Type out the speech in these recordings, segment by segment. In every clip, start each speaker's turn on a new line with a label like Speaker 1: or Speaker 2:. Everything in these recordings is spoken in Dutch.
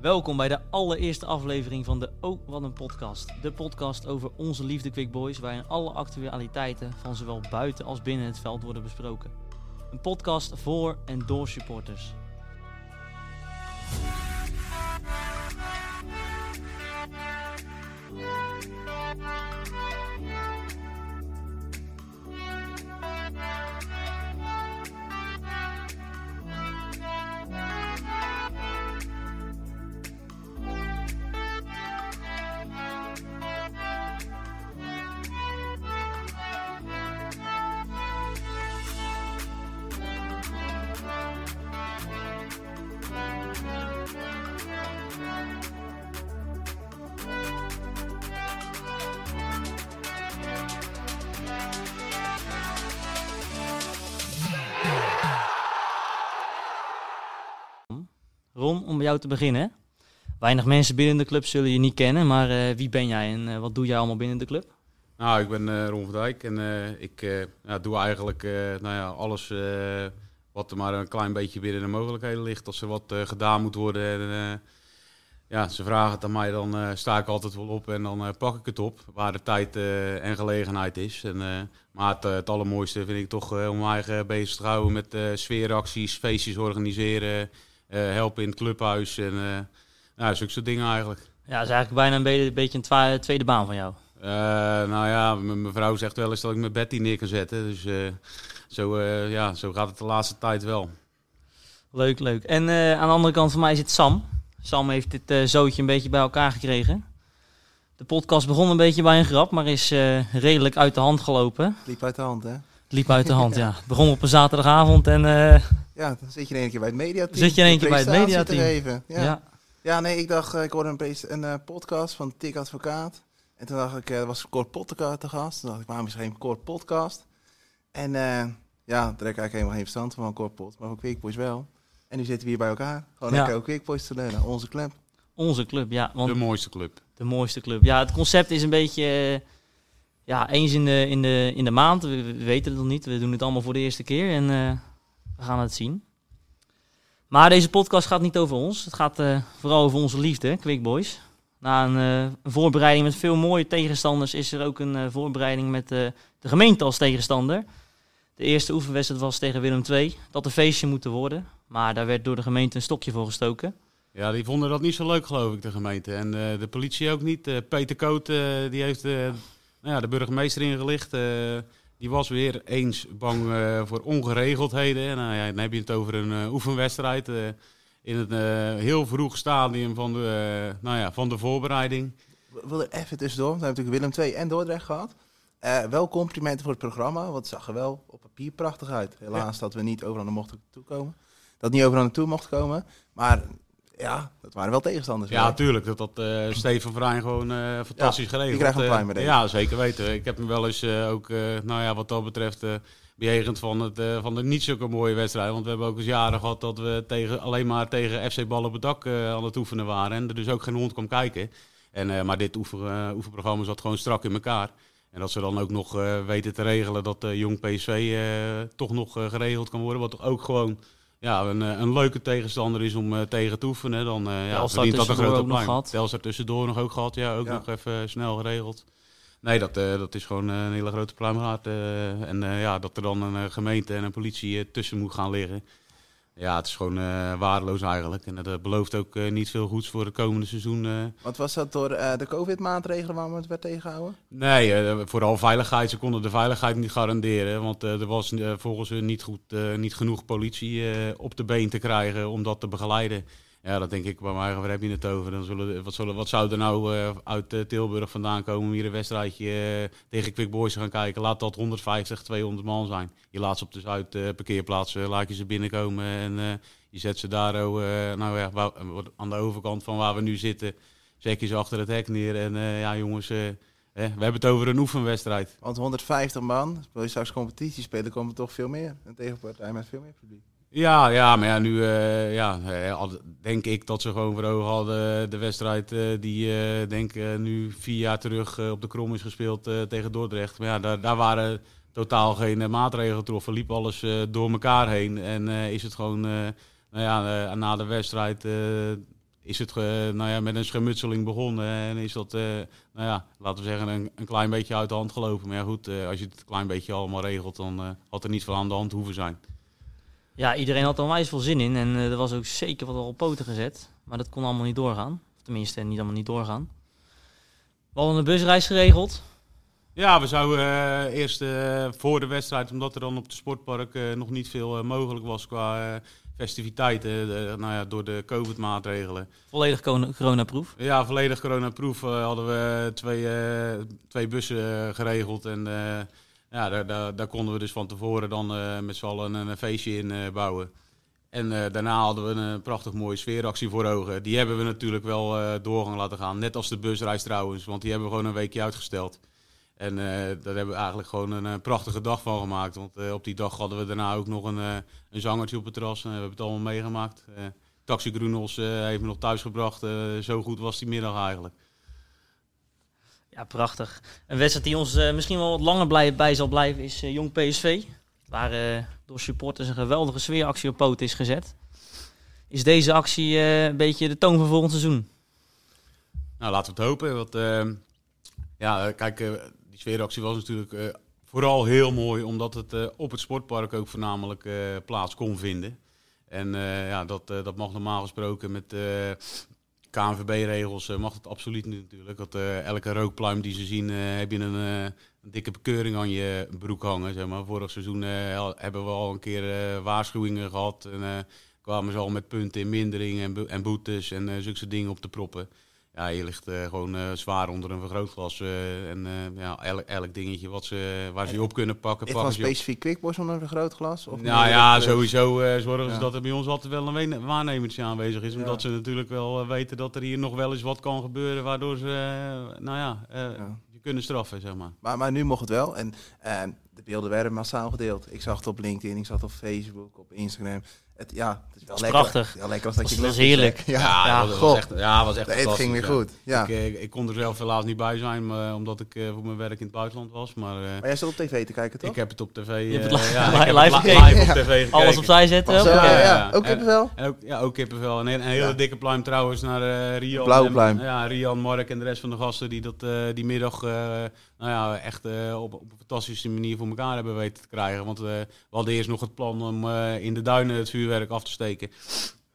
Speaker 1: Welkom bij de allereerste aflevering van de Oh Wat Een Podcast. De podcast over onze liefde Quick Boys, waarin alle actualiteiten van zowel buiten als binnen het veld worden besproken. Een podcast voor en door supporters. Ron, om bij jou te beginnen. Weinig mensen binnen de club zullen je niet kennen, maar eh, wie ben jij en eh, wat doe jij allemaal binnen de club?
Speaker 2: Nou, ik ben eh, Ron van Dijk en eh, ik eh, ja, doe eigenlijk eh, nou ja, alles eh, wat er maar een klein beetje binnen de mogelijkheden ligt. Als er wat eh, gedaan moet worden en eh, ja, ze vragen het aan mij, dan eh, sta ik altijd wel op en dan eh, pak ik het op waar de tijd eh, en gelegenheid is. En, eh, maar het, eh, het allermooiste vind ik toch eh, om mijn eigen bezig te houden met eh, sfeeracties, feestjes organiseren, eh, helpen in het clubhuis en eh nou, zulke soort dingen eigenlijk.
Speaker 1: Ja, dat is eigenlijk bijna een be- een beetje een twa- tweede baan van jou.
Speaker 2: Eh, nou ja, m- mijn vrouw zegt wel eens dat ik mijn bed niet neer kan zetten. Dus eh, zo, eh, ja, zo gaat het de laatste tijd wel.
Speaker 1: Leuk, leuk. En eh, aan de andere kant van mij zit Sam. Sam heeft dit eh, zootje een beetje bij elkaar gekregen. De podcast begon een beetje bij een grap, maar is eh, redelijk uit de hand gelopen.
Speaker 3: Het liep uit de hand, hè?
Speaker 1: Het liep uit de hand, ja. Het begon op een zaterdagavond en eh,
Speaker 3: Ja, dan zit je in één keer bij het mediateam.
Speaker 1: Zit je in één keer bij het
Speaker 3: Presentatie
Speaker 1: mediateam.
Speaker 3: te geven.
Speaker 1: ja.
Speaker 3: Ja. Ja. nee, ik dacht, eh, ik hoorde een, pres- een eh, podcast van Tik Advocaat. En toen dacht ik, eh, er was Kort Podcast te gast. Toen dacht ik, waarom is er geen Kort Podcast? En eh, ja, daar heb ik eigenlijk helemaal geen verstand van, Kort Pod. Maar van Quick Boys wel. En nu zitten we hier bij elkaar. Gewoon
Speaker 1: Ja.
Speaker 3: lekker ook Quick Boys te leunen, onze club.
Speaker 1: onze club, ja. Want
Speaker 2: De mooiste club.
Speaker 1: De mooiste club. Ja, het concept is een beetje. eh, ja, eens in de, in de, in de maand. We, we weten het nog niet. We doen het allemaal voor de eerste keer en eh, we gaan het zien. Maar deze podcast gaat niet over ons. Het gaat eh, vooral over onze liefde, Quick Boys. Na een eh, een voorbereiding met veel mooie tegenstanders is er ook een eh, voorbereiding met eh, de gemeente als tegenstander. De eerste oefenwedstrijd was tegen Willem II. Dat een feestje moeten worden. Maar daar werd door de gemeente een stokje voor gestoken.
Speaker 2: Ja, die vonden dat niet zo leuk, geloof ik, de gemeente. En eh, de politie ook niet. Eh, Peter Koot, eh, die heeft eh, nou ja, de burgemeester ingelicht. Eh, die was weer eens bang eh, voor ongeregeldheden. En nou ja, dan heb je het over een eh, oefenwedstrijd eh, in het eh, heel vroeg stadium van de, eh, nou ja, van de voorbereiding.
Speaker 3: Ik wil er even tussendoor, want we hebben natuurlijk Willem II en Dordrecht gehad. Eh, wel complimenten voor het programma, want het zag er wel op papier prachtig uit. Helaas dat we niet overal naar mochten toekomen. Dat niet overal naartoe mocht komen. Maar ja, dat waren wel tegenstanders.
Speaker 2: Ja,
Speaker 3: hoor.
Speaker 2: natuurlijk. Dat dat eh Steven Vrijn gewoon eh, fantastisch geregeld.
Speaker 3: die krijgt een
Speaker 2: Eh,
Speaker 3: pluim bij deze.
Speaker 2: Ja, zeker weten. Ik heb hem wel eens eh, ook, eh, nou ja, wat dat betreft, eh bejegend van, het, eh, van de niet zulke mooie wedstrijd. Want we hebben ook eens jaren gehad dat we tegen, alleen maar tegen FC Ballen op het dak eh, aan het oefenen waren. En er dus ook geen hond kwam kijken. En, eh, maar dit oefen, eh, oefenprogramma zat gewoon strak in elkaar. En dat ze dan ook nog eh, weten te regelen dat eh, jong PSV eh, toch nog eh, geregeld kan worden. Wat toch ook gewoon ja, een, eh, een leuke tegenstander is om eh, tegen te oefenen. Dan eh ja,
Speaker 1: Telstar
Speaker 2: verdient dat een
Speaker 1: tussendoor
Speaker 2: grote
Speaker 1: ook nog
Speaker 2: pluim.
Speaker 1: gehad.
Speaker 2: Telstar tussendoor nog ook gehad. Ja, ook
Speaker 3: Ja.
Speaker 2: nog even eh, snel geregeld. Nee, dat, eh, dat is gewoon eh, een hele grote pluim waard. eh, en eh, ja, dat er dan een eh, gemeente en een politie eh, tussen moet gaan liggen. Ja, het is gewoon eh, waardeloos eigenlijk. En dat eh, belooft ook eh, niet veel goeds voor het komende seizoen. eh,
Speaker 3: Want was dat door eh, de COVID-maatregelen waar we het werd tegengehouden?
Speaker 2: Nee, eh, vooral veiligheid. Ze konden de veiligheid niet garanderen. Want eh, er was eh, volgens hun niet, goed, eh, niet genoeg politie eh, op de been te krijgen om dat te begeleiden. Ja, dat denk ik bij mij, waar heb je het over? Dan zullen, de- wat, zullen, wat zou er nou eh, uit eh, Tilburg vandaan komen om hier een wedstrijdje eh, tegen Quick Boys te gaan kijken? Laat dat 150, 200 man zijn. Je laat ze op de Zuid-parkeerplaats, laat je ze binnenkomen en eh, je zet ze daar oh, eh, nou, ja, wou- aan de overkant van waar we nu zitten. Zet je ze achter het hek neer en eh, ja jongens... eh, Hè, We hebben het over een oefenwedstrijd.
Speaker 3: Want 150 man, wil je straks competitie spelen, komen er toch veel meer. Een tegenpartij met veel meer publiek.
Speaker 2: Ja, ja maar ja, nu eh, ja, eh, al- denk ik dat ze gewoon voor ogen hadden eh, de wedstrijd eh, die eh, denk eh, nu vier jaar terug eh, op de krom is gespeeld eh, tegen Dordrecht. Maar ja, daar, daar waren totaal geen eh, maatregelen getroffen. Liep alles eh, door elkaar heen. En eh, is het gewoon eh, nou ja, eh, na de wedstrijd eh, is het eh, nou ja, met een schermutseling begonnen en is dat, eh, nou ja, laten we zeggen, een, een klein beetje uit de hand gelopen. Maar ja, goed, eh, als je het een klein beetje allemaal regelt, dan eh, had er niets van aan de hand hoeven zijn.
Speaker 1: Ja, iedereen had er onwijs veel zin in. En eh, er was ook zeker wat op poten gezet. Maar dat kon allemaal niet doorgaan. Of tenminste, niet allemaal niet doorgaan. We hadden een busreis geregeld.
Speaker 2: Ja, we zouden eh, eerst eh, voor de wedstrijd, omdat er dan op het sportpark eh, nog niet veel eh, mogelijk was qua eh, festiviteiten, eh, nou ja, door de COVID-maatregelen.
Speaker 1: Volledig corona- coronaproof.
Speaker 2: Ja, volledig coronaproof eh, hadden we twee, eh, twee bussen eh, geregeld. En eh, ja, daar, daar, daar konden we dus van tevoren dan eh, met z'n allen een, een feestje in eh, bouwen. En eh, daarna hadden we een, eh, prachtig mooie sfeeractie voor ogen. Die hebben we natuurlijk wel eh, doorgang laten gaan. Net als de busreis trouwens, want die hebben we gewoon een weekje uitgesteld. En eh, daar hebben we eigenlijk gewoon een eh, prachtige dag van gemaakt. Want eh, op die dag hadden we daarna ook nog een, eh, een zangertje op het terras. en we hebben het allemaal meegemaakt. Eh, Taxi Groenels eh, heeft me nog thuis gebracht. Eh, zo goed was die middag eigenlijk.
Speaker 1: Ja, prachtig. Een wedstrijd die ons eh, misschien wel wat langer blij- bij zal blijven is eh, Jong PSV. Waar eh, door supporters een geweldige sfeeractie op poten is gezet. Is deze actie eh, een beetje de toon van volgend seizoen?
Speaker 2: Nou, laten we het hopen. Want, eh, ja, eh, kijk, eh, die sfeeractie was natuurlijk eh, vooral heel mooi. Omdat het eh, op het sportpark ook voornamelijk eh, plaats kon vinden. En eh, ja, dat, eh, dat mag normaal gesproken met eh KNVB-regels eh, mag dat absoluut niet natuurlijk. Want eh, elke rookpluim die ze zien, eh, heb je een, eh, een dikke bekeuring aan je broek hangen. Zeg maar. Vorig seizoen eh, al- hebben we al een keer eh, waarschuwingen gehad. En eh, kwamen ze al met punten in mindering en, bo- en boetes en eh zulke soort dingen op te proppen. Ja, je ligt eh, gewoon eh, zwaar onder een vergrootglas. eh, en eh, ja, elk, elk dingetje wat ze, waar ze je op kunnen pakken,
Speaker 3: Echt
Speaker 2: pakken
Speaker 3: van
Speaker 2: ze je op.
Speaker 3: specifiek quickboys onder een groot glas? Of
Speaker 2: Nou
Speaker 3: meer
Speaker 2: ja,
Speaker 3: dat, eh,
Speaker 2: sowieso eh, zorgen ze
Speaker 3: ja.
Speaker 2: dat er bij ons altijd wel een wene- waarnemertje aanwezig is. Omdat
Speaker 3: Ja.
Speaker 2: ze natuurlijk wel eh, weten dat er hier nog wel eens wat kan gebeuren. Waardoor ze, eh, nou ja, eh,
Speaker 3: ja.
Speaker 2: je kunnen straffen, zeg maar.
Speaker 3: Maar, maar nu mocht het wel. En eh, de beelden werden massaal gedeeld. Ik zag het op LinkedIn, ik zag het op Facebook, op Instagram. Het, ja, het is wel
Speaker 1: is
Speaker 3: lekker.
Speaker 1: prachtig.
Speaker 3: Ja, lekker was dat
Speaker 1: Was-
Speaker 3: je
Speaker 1: was
Speaker 3: lekker-
Speaker 1: heerlijk.
Speaker 3: Ja,
Speaker 1: Ja,
Speaker 2: dat
Speaker 3: goh.
Speaker 2: echt, ja, was echt
Speaker 3: het ging weer
Speaker 2: fantastisch,
Speaker 3: goed. Ja.
Speaker 2: Ik, eh, ik kon er zelf helaas niet bij zijn, maar, omdat ik eh, voor mijn werk in het buitenland was. Maar eh,
Speaker 3: Maar jij zat op tv te kijken, toch?
Speaker 2: ik heb het op tv.
Speaker 1: Je hebt
Speaker 2: eh,
Speaker 1: het li-
Speaker 2: ja, ik heb
Speaker 1: live
Speaker 2: het li-
Speaker 1: gekeken.
Speaker 2: live op tv gekeken.
Speaker 1: Alles opzij zetten.
Speaker 3: Zo, ja,
Speaker 1: hoppakee.
Speaker 3: ja,
Speaker 2: eh, ja.
Speaker 3: Ook
Speaker 2: En-
Speaker 3: kippenvel?
Speaker 2: En ook, ja, ook kippenvel. Een, he- een hele
Speaker 3: Ja.
Speaker 2: dikke pluim trouwens naar eh, Rian.
Speaker 3: Blauwe
Speaker 2: en-
Speaker 3: pluim.
Speaker 2: Ja, Rian, Mark en de rest van de gasten die dat eh, die middag eh, nou ja, echt eh, op, op een fantastische manier voor elkaar hebben weten te krijgen. Want eh, we hadden eerst nog het plan om eh, in de duinen het vuurwerk af te steken.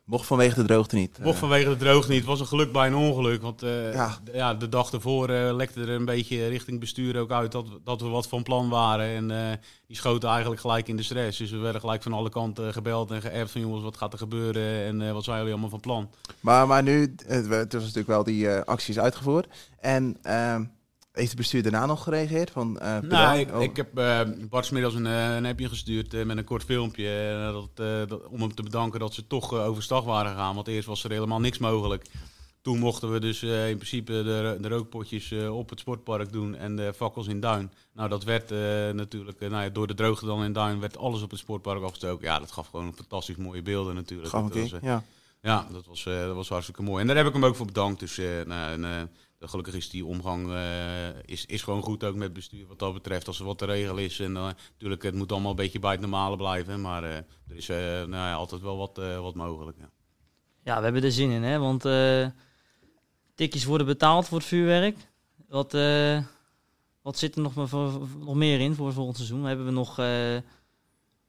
Speaker 3: Mocht vanwege de droogte niet.
Speaker 2: Mocht vanwege de droogte niet. Het was een geluk bij een ongeluk. Want eh,
Speaker 3: Ja.
Speaker 2: d- ja, de dag ervoor eh, lekte er een beetje richting bestuur ook uit dat, we- dat we wat van plan waren. En eh, die schoten eigenlijk gelijk in de stress. Dus we werden gelijk van alle kanten gebeld en geappt van jongens, wat gaat er gebeuren en eh, wat zijn jullie allemaal van plan?
Speaker 3: Maar, maar nu, het, het was natuurlijk wel die eh, acties uitgevoerd. En ehm, heeft het bestuur daarna nog gereageerd? Van, eh
Speaker 2: Nou,
Speaker 3: bedankt?
Speaker 2: ik,
Speaker 3: Oh,
Speaker 2: ik heb eh Bart 's middags een, eh, een appje gestuurd eh, met een kort filmpje. eh, dat, eh, dat- om hem te bedanken dat ze toch eh, overstag waren gegaan. Want eerst was er helemaal niks mogelijk. Toen mochten we dus eh, in principe de, de rookpotjes eh, op het sportpark doen en de fakkels in Duin. Nou, dat werd eh, natuurlijk, eh, nou ja, door de droogte dan in Duin werd alles op het sportpark afgestoken. Ja, dat gaf gewoon fantastisch mooie beelden natuurlijk.
Speaker 3: gaf een
Speaker 2: Dat was,
Speaker 3: keer.
Speaker 2: eh,
Speaker 3: Ja.
Speaker 2: ja, dat was, eh, dat was hartstikke mooi. En daar heb ik hem ook voor bedankt. Dus eh, nou, en, eh, gelukkig is die omgang eh, is, is gewoon goed ook met het bestuur wat dat betreft. Als er wat te regelen is. En eh, natuurlijk, het moet allemaal een beetje bij het normale blijven. Maar eh, er is eh, nou, ja, altijd wel wat, eh, wat mogelijk. Ja.
Speaker 1: Ja, we hebben er zin in, hè? Want eh tikjes worden betaald voor het vuurwerk. Wat, eh, wat zit er nog, maar voor, voor- nog meer in voor volgend seizoen? Hebben we nog. eh,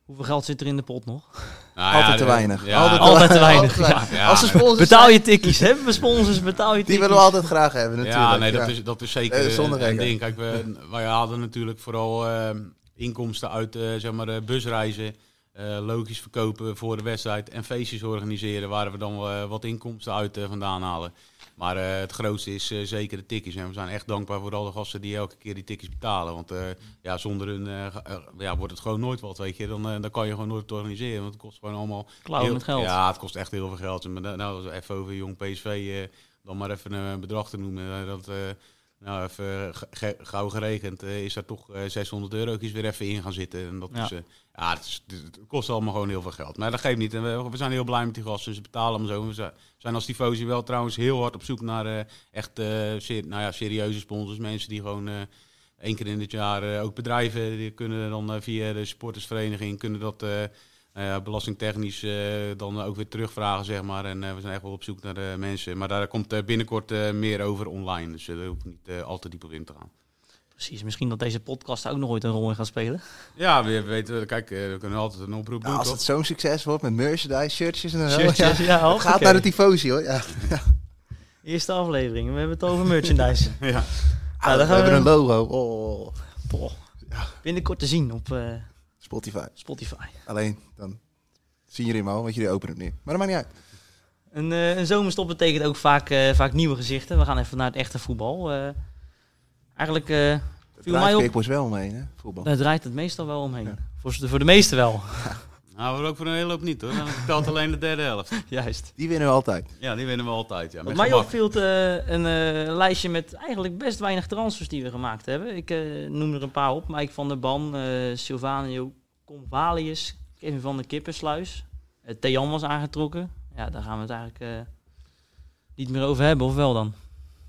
Speaker 1: hoeveel geld zit er in de pot nog?
Speaker 2: Nou, ja,
Speaker 3: Altijd te
Speaker 2: dat-
Speaker 3: weinig.
Speaker 2: ja,
Speaker 1: Altijd te weinig.
Speaker 3: Altijd te weinig.
Speaker 2: Ja.
Speaker 3: Als ze sponsors
Speaker 1: Betaal je tikkies, hebben we sponsors, betaal je tikkies.
Speaker 3: Die willen we altijd graag hebben, natuurlijk.
Speaker 2: Ja, nee, dat, Is, dat is zeker eh,
Speaker 3: Nee, dat is zonder
Speaker 2: een- een
Speaker 3: reden. Mm-hmm.
Speaker 2: ding. Kijk, we, wij hadden natuurlijk vooral eh, inkomsten uit eh, zeg maar, eh, busreizen, eh, logisch verkopen voor de wedstrijd en feestjes organiseren, waar we dan eh, wat inkomsten uit eh, vandaan halen. Maar eh, het grootste is eh, zeker de tikkies. En we zijn echt dankbaar voor alle gasten die elke keer die tikkies betalen. Want eh, ja, zonder hun eh, ga- eh, ja, wordt het gewoon nooit wat, weet je. Dan, eh, dan kan je gewoon nooit organiseren, want het kost gewoon allemaal
Speaker 1: Klauwen
Speaker 2: Heel-
Speaker 1: met geld.
Speaker 2: Ja, het kost echt heel veel geld. En nou, nou, als we even over jong PSV, eh, dan maar even een bedrag te noemen. eh, dat, eh, nou, even eh, ge- ge- gauw gerekend, eh, is daar toch eh, 600 euro's weer even in gaan zitten. En dat
Speaker 1: Ja.
Speaker 2: is, eh, ja, het, is- het kost allemaal gewoon heel veel geld. Maar dat geeft niet. En we, we zijn heel blij met die gasten. Ze betalen hem zo. We zijn- zijn als tifosi wel trouwens heel hard op zoek naar eh, echt eh, ser- nou ja, serieuze sponsors. Mensen die gewoon... eh, één keer in het jaar eh, ook bedrijven die kunnen dan eh, via de supportersvereniging kunnen dat eh, Nou ja, belastingtechnisch eh, dan ook weer terugvragen, zeg maar. En eh, we zijn echt wel op zoek naar eh, mensen. Maar daar komt eh, binnenkort eh, meer over online. Dus eh, daar hoef ik niet eh, al te diep op in te gaan.
Speaker 1: Precies, misschien dat deze podcast daar ook nog ooit een rol in gaat spelen.
Speaker 2: Ja, we, we weten, kijk, eh, we kunnen altijd een oproep doen,
Speaker 3: Nou, als
Speaker 2: toch?
Speaker 3: het zo'n succes wordt met merchandise, shirtjes en zo.
Speaker 1: Shirtjes,
Speaker 3: ja.
Speaker 1: ja,
Speaker 3: Het gaat
Speaker 1: hoppakee.
Speaker 3: naar de tifosi hoor. Ja.
Speaker 1: Eerste aflevering, we hebben het over merchandise.
Speaker 2: Ja.
Speaker 1: dan
Speaker 3: we
Speaker 1: gaan
Speaker 3: hebben
Speaker 1: we-
Speaker 3: een logo. Oh,
Speaker 1: Boah. Binnenkort te zien op eh,
Speaker 3: Spotify.
Speaker 1: Spotify.
Speaker 3: Alleen, dan zien jullie hem al, want jullie openen hem nu. Maar dat maakt niet uit.
Speaker 1: Een, eh, een zomerstop betekent ook vaak, eh, vaak nieuwe gezichten. We gaan even naar het echte voetbal. eh. eigenlijk eh,
Speaker 3: Het
Speaker 1: Viel mij op.
Speaker 3: draait Kickboys wel omheen, hè? Voetbal.
Speaker 1: daar draait het meestal wel omheen.
Speaker 3: Ja.
Speaker 1: Voor, de- voor de meesten wel.
Speaker 2: Nou, we ook voor een hele hoop niet, hoor. Dan telt alleen de derde helft.
Speaker 1: Juist.
Speaker 3: Die winnen we altijd.
Speaker 2: Ja, die winnen we altijd, ja.
Speaker 1: Wat
Speaker 2: Met
Speaker 1: mij
Speaker 2: gemak.
Speaker 1: opviel, eh, een eh, lijstje met eigenlijk best weinig transfers die we gemaakt hebben. Ik eh, noem er een paar op. Mike van der Ban, eh, Silvanio Convalius, Kevin van der Kippersluis. Eh, Thean was aangetrokken. Ja, daar gaan we het eigenlijk eh, niet meer over hebben, of wel dan?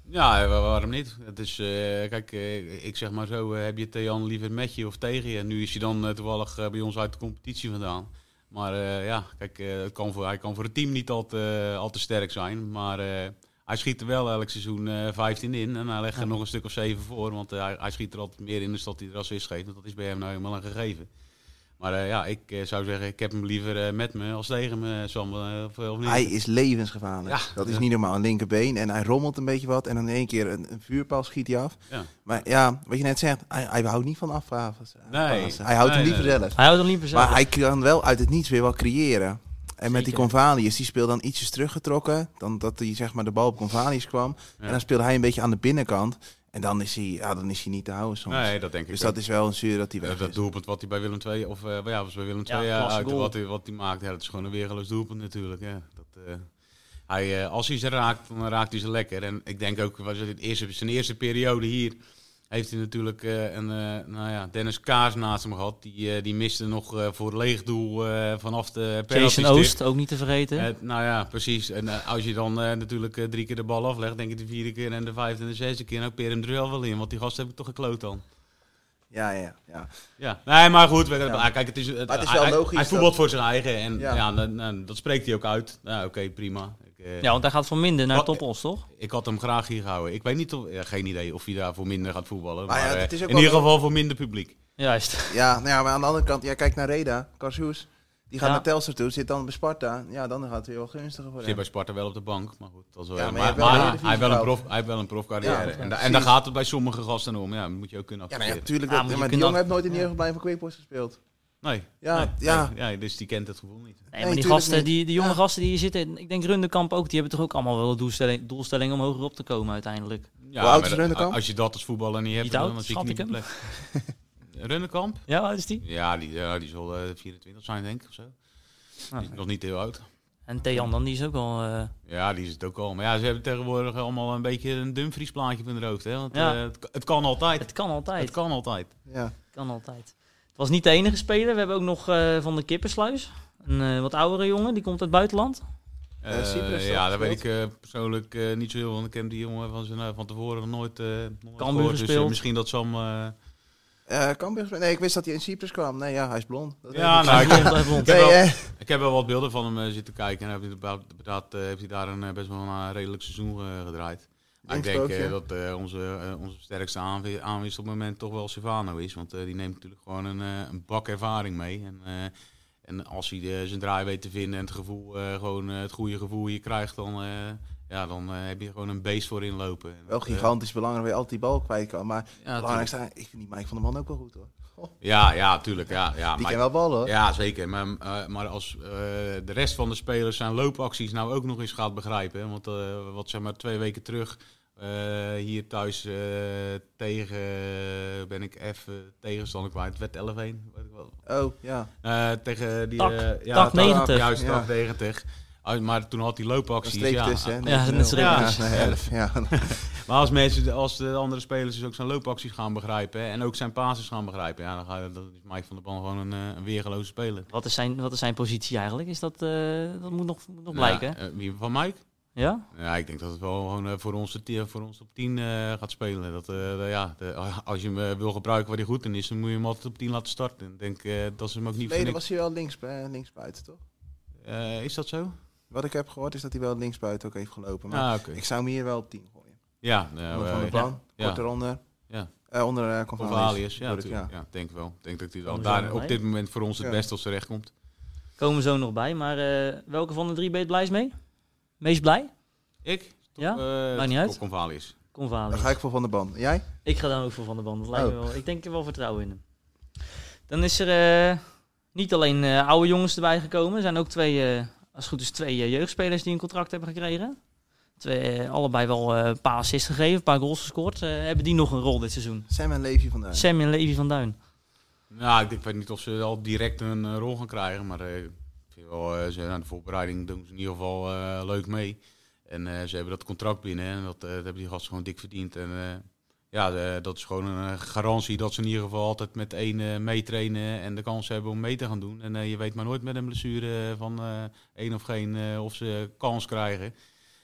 Speaker 2: Ja, wa- waarom niet? Het is, eh, kijk, eh, ik zeg maar zo, eh, heb je Thean liever met je of tegen je? Nu is hij dan eh, toevallig eh, bij ons uit de competitie vandaan. Maar eh, ja, kijk, eh, het kan voor, hij kan voor het team niet al te, al te sterk zijn. Maar eh, hij schiet er wel elk seizoen eh 15 in. En hij legt er
Speaker 1: Ja.
Speaker 2: nog een stuk of 7 voor. Want eh, hij, hij schiet er altijd meer in dan dat hij er assist geeft. Want dat is bij hem nou helemaal een gegeven. Maar eh, ja, ik eh, zou zeggen, ik heb hem liever eh, met me als tegen me, Sam. eh, of, of niet?
Speaker 3: Hij is levensgevaarlijk.
Speaker 2: Ja.
Speaker 3: Dat is
Speaker 2: Ja.
Speaker 3: niet normaal. Een linkerbeen en hij rommelt een beetje wat. En dan in één keer een, een vuurpaal schiet hij af.
Speaker 2: Ja.
Speaker 3: Maar ja, wat je net zegt, hij, hij houdt niet van afvragen.
Speaker 2: Nee.
Speaker 3: Hij houdt
Speaker 2: Nee,
Speaker 3: hem liever
Speaker 2: nee, nee.
Speaker 3: zelf.
Speaker 1: Hij houdt hem liever zelf.
Speaker 3: Maar hij kan wel uit het niets weer wat creëren. En met die
Speaker 1: Zeker.
Speaker 3: Convalius, die speelde dan ietsjes teruggetrokken. Dan dat hij zeg maar de bal op Convalius kwam.
Speaker 2: Ja.
Speaker 3: En dan speelde hij een beetje aan de binnenkant. En dan is hij, ja, dan is hij niet te houden soms.
Speaker 2: Nee, dat denk ik
Speaker 3: dus
Speaker 2: ook.
Speaker 3: dat is wel een zuur dat hij
Speaker 2: Ja,
Speaker 3: weg
Speaker 2: dat
Speaker 3: is.
Speaker 2: doelpunt wat hij bij Willem II, of eh, ja, was bij Willem
Speaker 1: Ja,
Speaker 2: II eh,
Speaker 1: klasse
Speaker 2: uit,
Speaker 1: goal.
Speaker 2: wat hij, wat hij maakt, ja, dat is gewoon een weergeloos doelpunt natuurlijk. Ja. Dat, eh, hij, eh, als hij ze raakt, dan raakt hij ze lekker. En ik denk ook, was het het eerste, zijn eerste periode hier, heeft hij natuurlijk eh, een, eh, nou ja, Dennis Kaas naast hem gehad. Die, eh, die miste nog eh, voor leeg doel eh, vanaf de penalty
Speaker 1: Jason Oost, ook niet te vergeten.
Speaker 2: eh, nou ja, precies. En eh, als je dan eh, natuurlijk eh, drie keer de bal aflegt, denk ik de vierde keer en de vijfde en de zesde keer, nou peer hem er wel wel in, want die gast heb ik toch gekloot dan.
Speaker 3: Ja, ja, ja.
Speaker 2: Ja, nee, maar goed. we- ah,
Speaker 3: Ja.
Speaker 2: Kijk, het is, het,
Speaker 3: Maar het is
Speaker 2: hij-
Speaker 3: wel
Speaker 2: hij-
Speaker 3: logisch
Speaker 2: Hij
Speaker 3: dat-
Speaker 2: voetbalt voor zijn eigen en ja.
Speaker 3: Ja.
Speaker 2: dan- dan- dat spreekt hij ook uit. Nou, oké, prima. Ik, eh,
Speaker 1: ja, want hij gaat van minder naar
Speaker 2: Wat-
Speaker 1: toppos, toch?
Speaker 2: ik had hem graag hier gehouden. Ik weet niet of, ja, geen idee of hij daarvoor minder gaat voetballen. Maar,
Speaker 3: Maar ja,
Speaker 2: eh,
Speaker 3: het is ook
Speaker 2: in
Speaker 3: wel-
Speaker 2: ieder geval voor minder publiek.
Speaker 1: Juist.
Speaker 3: Ja, nou ja, maar aan de andere kant, ja, kijk naar Reda, Karshoes. Die gaat
Speaker 1: Ja.
Speaker 3: naar Telstar toe, zit dan bij Sparta. Ja, dan gaat het weer wel gunstiger voor
Speaker 2: Zit bij
Speaker 3: hem.
Speaker 2: Sparta wel op de bank, maar goed. Dat is wel,
Speaker 3: Ja, maar je
Speaker 2: maar
Speaker 3: hebt wel
Speaker 2: maar
Speaker 3: een
Speaker 2: hij-
Speaker 3: Eredivisie
Speaker 2: hij, heeft wel een
Speaker 3: gehaald.
Speaker 2: prof, hij heeft wel een profcarrière.
Speaker 3: Ja,
Speaker 2: en, da- en
Speaker 3: precies.
Speaker 2: daar gaat het bij sommige gasten om. Ja, dat moet je ook kunnen
Speaker 3: Ja, nou ja,
Speaker 2: accepteren.
Speaker 3: natuurlijk.
Speaker 1: Ja,
Speaker 3: dat-
Speaker 1: maar
Speaker 3: maar
Speaker 1: je
Speaker 3: die
Speaker 1: kunt
Speaker 3: jongen
Speaker 1: dan-
Speaker 3: heeft nooit in de
Speaker 1: ja.
Speaker 3: jeugdopleiding van Quickboys gespeeld.
Speaker 2: nee,
Speaker 3: Ja,
Speaker 2: nee,
Speaker 3: ja.
Speaker 2: nee. Ja, dus die kent het gevoel niet.
Speaker 1: Nee,
Speaker 3: Nee,
Speaker 1: maar die,
Speaker 3: tuurlijk
Speaker 1: gasten,
Speaker 3: niet.
Speaker 1: die, die jonge
Speaker 3: Ja.
Speaker 1: gasten die hier zitten, ik denk Rundekamp ook, die hebben toch ook allemaal wel doelstelling, doelstelling om hoger op te komen uiteindelijk.
Speaker 2: Ja,
Speaker 3: Hoe oud
Speaker 2: maar
Speaker 3: is
Speaker 2: dat-
Speaker 3: Runnekamp?
Speaker 2: Als je dat als voetballer niet hebt,
Speaker 1: Niet oud,
Speaker 2: dan zie ik
Speaker 1: schat
Speaker 2: niet
Speaker 1: ik
Speaker 2: de plek. Runnekamp?
Speaker 1: Ja, wat is die?
Speaker 2: Ja, die, ja, die zal eh, 24 zijn, denk ik, of
Speaker 1: Ah,
Speaker 2: zo. Die is nog niet heel oud.
Speaker 1: En Thean dan, die is ook al... eh,
Speaker 2: Ja, die is het ook al. Maar ja, ze hebben tegenwoordig allemaal een beetje een Dumfries plaatje op hun hoofd. Hè? Want
Speaker 1: Ja.
Speaker 2: eh, het, het kan altijd.
Speaker 1: het kan altijd.
Speaker 2: Het
Speaker 1: Het kan.
Speaker 2: kan altijd.
Speaker 3: Ja.
Speaker 1: altijd. Het was niet de enige speler. We hebben ook nog eh, Van de Kippersluis. Een eh, wat oudere jongen, die komt uit het buitenland.
Speaker 3: Eh,
Speaker 2: Eh,
Speaker 3: Cyprus, dat
Speaker 2: ja, daar weet ik
Speaker 3: speelt.
Speaker 2: eh, persoonlijk eh, niet zo heel van. Ik heb die jongen van, zijn, eh, van tevoren nog nooit, eh, nog
Speaker 1: Cambuur
Speaker 2: nooit gehoord. Dus eh,
Speaker 1: gespeeld.
Speaker 2: misschien dat Sam... eh,
Speaker 3: Eh, Cambuur- nee, ik wist dat hij in Cyprus kwam. Nee, ja, hij is blond. Dat weet
Speaker 2: ja,
Speaker 3: ik.
Speaker 2: nou, ik,
Speaker 1: Hij blijft rond.
Speaker 2: heb
Speaker 3: Nee,
Speaker 2: wel-
Speaker 3: eh,
Speaker 2: ik heb wel wat beelden van hem eh, zitten kijken. En hij heeft inderdaad- inderdaad, eh, heeft hij daar een eh, best wel een eh, redelijk seizoen eh, gedraaid. Maar ik denk
Speaker 3: Linkspootje.
Speaker 2: eh, dat eh, onze, eh, onze sterkste aanwi- aanwinst op het moment toch wel Silvano is. Want eh, die neemt natuurlijk gewoon een, eh, een bak ervaring mee. En, eh, en als hij eh, zijn draai weet te vinden en het, gevoel, eh, gewoon, eh, het goede gevoel hier krijgt, dan, eh, ja, dan eh, heb je gewoon een beest voor inlopen. En
Speaker 3: Wel
Speaker 2: dat, eh,
Speaker 3: gigantisch belangrijk dat je altijd die bal kwijt kan. Maar
Speaker 2: ja,
Speaker 3: belangrijk
Speaker 2: tuurlijk.
Speaker 3: zijn, ik vind die Mike van der Man ook wel goed hoor.
Speaker 2: Ah, ja, ja, tuurlijk. Ja, ja,
Speaker 3: Die
Speaker 2: maar-
Speaker 3: kan wel ballen hoor.
Speaker 2: Ja, zeker. Maar, eh, maar als eh, de rest van de spelers zijn loopacties nou ook nog eens gaat begrijpen. hè, Want eh, wat zeg maar twee weken terug eh, hier thuis eh, tegen ben ik even tegenstander kwijt. Het werd 11-1. weet ik wel.
Speaker 3: Oh, ja.
Speaker 2: Eh, tegen die
Speaker 1: Tak.
Speaker 2: eh, ja,
Speaker 1: Tak 90.
Speaker 2: Juist,
Speaker 3: Ja.
Speaker 2: tak 90. Ah, maar toen had hij
Speaker 3: Een
Speaker 2: loopacties.
Speaker 3: streep
Speaker 2: Ja.
Speaker 3: tussen. hè?
Speaker 1: Ja, net
Speaker 3: 19-0.
Speaker 1: streep
Speaker 3: Ja,
Speaker 2: tussen.
Speaker 3: nee, elf, ja.
Speaker 2: Maar als, mensen, de- als de andere spelers dus ook zijn loopacties gaan begrijpen hè, en ook zijn pases gaan begrijpen, ja, dan, ga, je- dan is Mike van der Ban gewoon een, eh, een weergeloze speler.
Speaker 1: Wat is, zijn, wat is zijn positie eigenlijk? Is dat, eh, dat moet nog, moet nog
Speaker 2: Nou ja,
Speaker 1: blijken.
Speaker 2: eh, wie- van Mike?
Speaker 1: Ja?
Speaker 2: Ja, ik denk dat het wel gewoon eh, voor onze ti- voor ons op 10 eh, gaat spelen. Dat, eh, de- ja, de- als je hem eh, wil gebruiken waar hij goed in is, dan moet je hem altijd op 10 laten starten. Ik denk eh, dat ze hem ook niet voor
Speaker 3: Nee, dan
Speaker 2: niks-
Speaker 3: was hij wel links, eh, linksbuiten, toch?
Speaker 2: Eh, is dat zo?
Speaker 3: Wat ik heb gehoord is dat hij wel linksbuiten ook heeft gelopen. Maar
Speaker 2: Ah, oké.
Speaker 3: ik zou hem hier wel op 10 gooien.
Speaker 2: Ja, nou,
Speaker 3: Gewoon
Speaker 2: eh,
Speaker 3: van de plan,
Speaker 2: ja.
Speaker 3: kort eronder.
Speaker 2: Ja.
Speaker 3: Eh, onder eh
Speaker 2: of
Speaker 3: Convalius.
Speaker 2: Alias. Ja,
Speaker 3: bedoel ik,
Speaker 2: natuurlijk. ja. denk wel. Ik denk dat hij dan
Speaker 1: Komen we zo
Speaker 2: daar
Speaker 1: nog
Speaker 2: op
Speaker 1: bij?
Speaker 2: dit moment voor ons het
Speaker 3: Ja.
Speaker 2: best als terecht komt.
Speaker 1: Komen we zo nog bij. Maar eh, welke van de drie ben je het blijst mee? Meest blij?
Speaker 2: Ik?
Speaker 1: Ja?
Speaker 2: Eh,
Speaker 1: Maakt niet uit.
Speaker 2: Top Convalius.
Speaker 1: Convalius.
Speaker 3: Dan ga ik voor Van der Band. Jij?
Speaker 1: Ik ga dan ook voor Van der Band. Dat lijkt me wel. Ik denk er wel vertrouwen in hem. Dan is er eh, niet alleen eh, oude jongens erbij gekomen. Er zijn ook twee, eh, als het goed is, twee eh, jeugdspelers die een contract hebben gekregen. Twee, eh, allebei wel eh, een paar assists gegeven, een paar goals gescoord. Eh, hebben die nog een rol dit seizoen?
Speaker 3: Sam en Levi vandaag.
Speaker 1: Sam en Levi van Duin.
Speaker 2: Nou, ik, denk- ik weet niet of ze al direct een eh, rol gaan krijgen, maar eh, ik vind wel, eh, ze, aan de voorbereiding doen ze in ieder geval eh, leuk mee. En eh, ze hebben dat contract binnen en dat, eh, dat hebben die gasten gewoon dik verdiend. En eh, ja, eh, dat is gewoon een eh, garantie dat ze in ieder geval altijd met één eh, meetrainen en de kans hebben om mee te gaan doen. En eh, je weet maar nooit met een blessure eh, van eh, één of geen eh, of ze kans krijgen.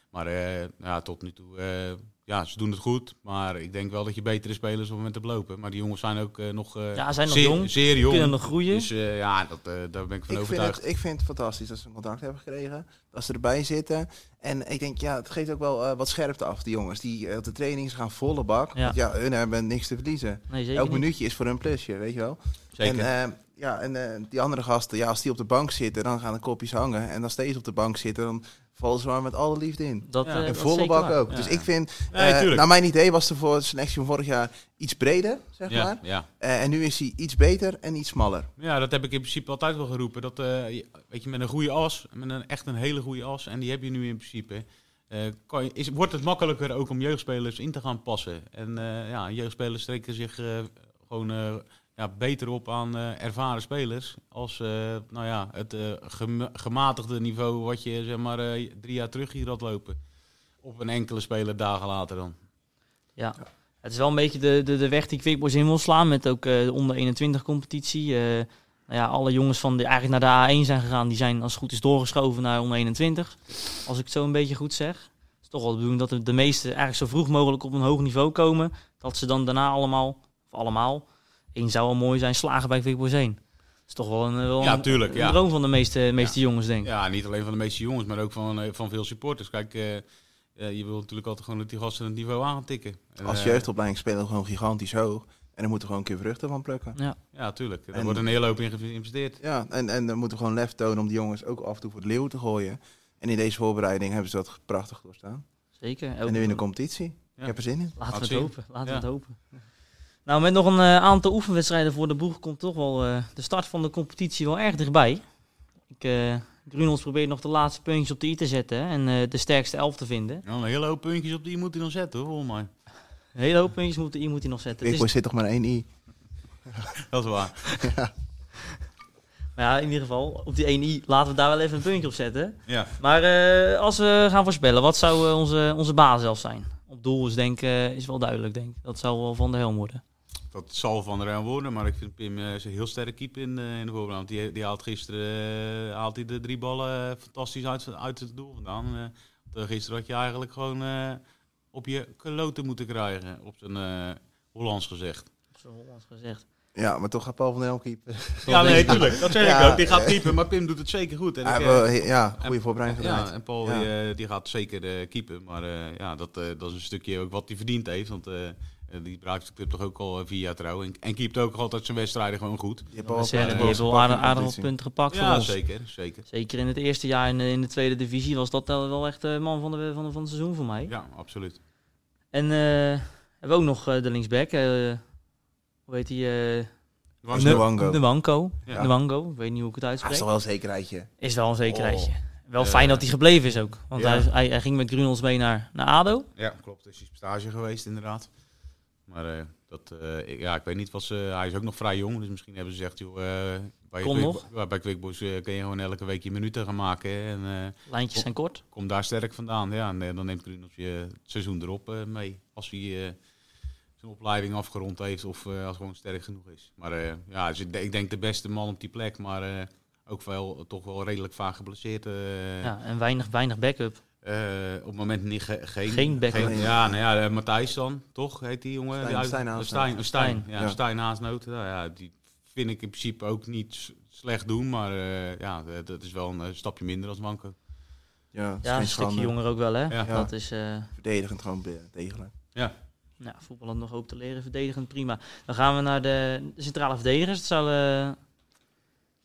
Speaker 2: Maar eh, ja, tot nu toe, eh, ja, ze doen het goed. Maar ik denk wel dat je betere spelers op het moment hebt lopen. Maar die jongens zijn ook eh, nog, eh,
Speaker 1: Ja, zijn nog
Speaker 2: zeer,
Speaker 1: jong.
Speaker 2: zeer jong.
Speaker 1: Kunnen nog groeien.
Speaker 2: Dus eh, ja, dat, eh, daar ben ik van
Speaker 3: Ik vind,
Speaker 2: overtuigd.
Speaker 3: het, ik vind het fantastisch dat ze een contract hebben gekregen. Dat ze erbij zitten. En ik denk, ja, het geeft ook wel eh, wat scherpte af, die jongens. Die eh, op de trainingen ze gaan volle bak.
Speaker 1: Ja.
Speaker 3: Ja, ja hun hebben niks te verliezen.
Speaker 1: Nee, zeker
Speaker 3: Elk
Speaker 1: niet.
Speaker 3: minuutje is voor hun plusje, weet je wel.
Speaker 2: Zeker.
Speaker 3: En, eh, ja, en eh, die andere gasten, ja, als die op de bank zitten, dan gaan de kopjes hangen. En als deze op de bank zitten, dan vallen ze maar met alle liefde in.
Speaker 1: Dat,
Speaker 2: Ja.
Speaker 1: eh,
Speaker 2: En
Speaker 1: dat
Speaker 3: En
Speaker 1: is
Speaker 3: volle
Speaker 1: zeker
Speaker 3: bak
Speaker 1: waar.
Speaker 3: ook.
Speaker 2: Ja.
Speaker 3: Dus ik vind,
Speaker 2: Nee,
Speaker 3: eh,
Speaker 2: tuurlijk.
Speaker 3: naar mijn idee was de voor selectie van vorig jaar iets breder, zeg
Speaker 2: ja,
Speaker 3: maar.
Speaker 2: ja.
Speaker 3: Eh, en nu is hij iets beter en iets smaller.
Speaker 2: ja, dat heb ik in principe altijd wel geroepen. Dat, eh, je- weet je, met een goede as, met een, echt een hele goede as, en die heb je nu in principe. eh, kan je, is, wordt het makkelijker ook om jeugdspelers in te gaan passen. En eh, ja, jeugdspelers trekken zich eh, gewoon eh, ja, beter op aan eh, ervaren spelers. Als eh, nou ja, het eh, gem- gematigde niveau wat je zeg maar, eh, drie jaar terug hier had lopen. Op een enkele speler dagen later dan.
Speaker 1: Ja. Het is wel een beetje de, de, de weg die Quickboys in wil slaan. Met ook eh, de onder 21 competitie. Eh, nou ja, alle jongens van die eigenlijk naar de A1 zijn gegaan, die zijn als het goed is doorgeschoven naar onder 21. Als ik het zo een beetje goed zeg. Het is toch wel de bedoeling dat de, de meesten eigenlijk zo vroeg mogelijk op een hoog niveau komen. Dat ze dan daarna allemaal, of allemaal, één zou wel mooi zijn, slagen bij Quickboys 1. Dat is toch wel een, eh, wel
Speaker 2: Ja,
Speaker 1: een-
Speaker 2: tuurlijk,
Speaker 1: een
Speaker 2: ja.
Speaker 1: droom van de meeste, meeste jongens, denk ik.
Speaker 2: Ja, niet alleen van de meeste jongens, maar ook van, eh, van veel supporters. Kijk, eh, eh, je wil natuurlijk altijd gewoon dat die gasten het niveau aan gaan tikken. En,
Speaker 3: Als
Speaker 2: eh,
Speaker 3: jeugdopleiding spelen we gewoon gigantisch hoog. En dan moeten we gewoon een keer vruchten van plukken.
Speaker 2: Ja, tuurlijk. Er
Speaker 3: En-
Speaker 2: wordt een hele hoop in geïnvesteerd.
Speaker 3: Ja, en, en dan moeten we gewoon lef tonen om die jongens ook af en toe voor het leeuw te gooien. En in deze voorbereiding hebben ze dat prachtig doorstaan.
Speaker 1: Zeker.
Speaker 3: En nu in de competitie.
Speaker 2: Ja.
Speaker 3: Ik heb er zin in.
Speaker 1: Laten
Speaker 2: Laat
Speaker 1: we het
Speaker 2: zien.
Speaker 1: hopen. Laten
Speaker 2: Ja.
Speaker 1: we het hopen. Nou, met nog een eh, aantal oefenwedstrijden voor de boeg komt toch wel eh, de start van de competitie wel erg dichtbij. Ik, eh Grunels probeert nog de laatste puntjes op de i te zetten hè, en eh, de sterkste elf te vinden.
Speaker 2: Ja, een hele hoop puntjes op die je moet hij dan zetten, hoor, volgens mij.
Speaker 1: Een hele hoop puntjes moet, de i moet hij nog zetten. Dus
Speaker 3: Ik
Speaker 1: Het is-
Speaker 3: zit toch maar één i.
Speaker 2: Dat is waar.
Speaker 1: maar ja, in ieder geval, op die 1i laten we daar wel even een puntje op zetten.
Speaker 2: Ja.
Speaker 1: Maar eh, als we gaan voorspellen, wat zou eh, onze, onze baas zelf zijn? Op doel is, denk, eh, is wel duidelijk, denk ik. Dat zou wel Van der Helm worden.
Speaker 2: Dat zal van de Rijn worden, maar ik vind Pim eh, is een heel sterke keeper in, eh, in de voorbereiding. Want die, die haalt gisteren eh, haalt hij de drie ballen eh, fantastisch uit, uit het doel vandaan. Eh, want, eh, gisteren had je eigenlijk gewoon eh, op je kloten moeten krijgen, op zijn eh, Hollands gezegd.
Speaker 1: Zo Hollands gezegd.
Speaker 3: Ja, maar toch gaat Paul van der Helm keeper.
Speaker 2: Ja, nee, tuurlijk. Dat zeg
Speaker 3: Ja.
Speaker 2: ik ook. Die gaat keeper, maar Pim doet het zeker goed. En ik,
Speaker 3: Ja,
Speaker 2: eh,
Speaker 3: we- ja goede voorbereiding
Speaker 2: ja,
Speaker 3: gedaan.
Speaker 2: en Paul
Speaker 3: Ja.
Speaker 2: Die, eh, die gaat zeker eh keeper. Maar eh, ja, dat, eh, dat is een stukje ook wat hij verdiend heeft. Want eh, eh, die braakt de club toch ook al eh, vier jaar trouw. En, en keept ook altijd zijn wedstrijden gewoon goed.
Speaker 3: Die hebben
Speaker 1: Die
Speaker 3: al
Speaker 1: hebben
Speaker 3: wel
Speaker 1: wel aardig, aardig wat punten gepakt voor
Speaker 2: Ja,
Speaker 1: ons.
Speaker 2: zeker. zeker.
Speaker 1: Zeker in het eerste jaar in, in de tweede divisie was dat wel wel echt de man van, de, van, de- van het seizoen voor mij.
Speaker 2: Ja, absoluut.
Speaker 1: En eh, hebben we ook nog eh, de linksback. eh, hoe heet die? eh
Speaker 3: Dat is
Speaker 1: Ne-
Speaker 3: de Wango.
Speaker 1: De Wanko.
Speaker 2: Ja.
Speaker 1: De Wango. Ik weet niet hoe ik het
Speaker 3: Dat is
Speaker 1: uitspreek.
Speaker 3: toch wel een zekerheidje.
Speaker 1: Is wel een zekerheidje. Wel
Speaker 2: Eh,
Speaker 1: fijn dat hij gebleven is ook. Want
Speaker 2: ja.
Speaker 1: hij, hij, hij ging met Grunels mee naar, naar ADO.
Speaker 2: Ja, klopt. Is hij op stage geweest, inderdaad. Maar eh, dat, eh, ik- ja, ik weet niet wat ze. Hij is ook nog vrij jong, dus misschien hebben ze gezegd: joh, eh, bij,
Speaker 1: Kom
Speaker 2: Quick-
Speaker 1: nog.
Speaker 2: ja, bij Quickboys eh, kun je gewoon elke week je minuten gaan maken. hè. En, eh,
Speaker 1: Lijntjes zijn kort.
Speaker 2: kom daar sterk vandaan. Ja, en eh, dan neemt Grunels je het seizoen erop eh, mee. Als hij eh, zijn opleiding afgerond heeft of eh, als hij gewoon sterk genoeg is. Maar eh, ja, dus ik, de- ik denk de beste man op die plek. Maar eh, ook wel, toch wel redelijk vaak geblesseerd. eh.
Speaker 1: Ja, en weinig, weinig backup.
Speaker 2: eh, op het moment niet ge- geen...
Speaker 1: Geen backup.
Speaker 2: ja, nou ja, eh, Matthijs dan, toch? Heet die jongen?
Speaker 3: Stijn-
Speaker 2: Die uit-
Speaker 3: Stijn Haasnoot.
Speaker 2: Stijn, Stijn, ja,
Speaker 3: Ja.
Speaker 2: Stijn Haasnoot. Nou ja, die vind ik in principe ook niet s- slecht doen. Maar eh, ja, eh, dat is wel een eh, stapje minder als Wanko.
Speaker 3: Ja, dat is
Speaker 1: Ja,
Speaker 3: geen
Speaker 1: een stukje
Speaker 3: schande.
Speaker 1: jonger ook wel, hè?
Speaker 2: Ja.
Speaker 1: Dat is... eh,
Speaker 3: Verdedigend gewoon be- degelijk.
Speaker 1: Nou, voetballen nog hoop te leren, verdedigend prima. Dan gaan we naar de centrale verdedigers. Het, zal, eh, het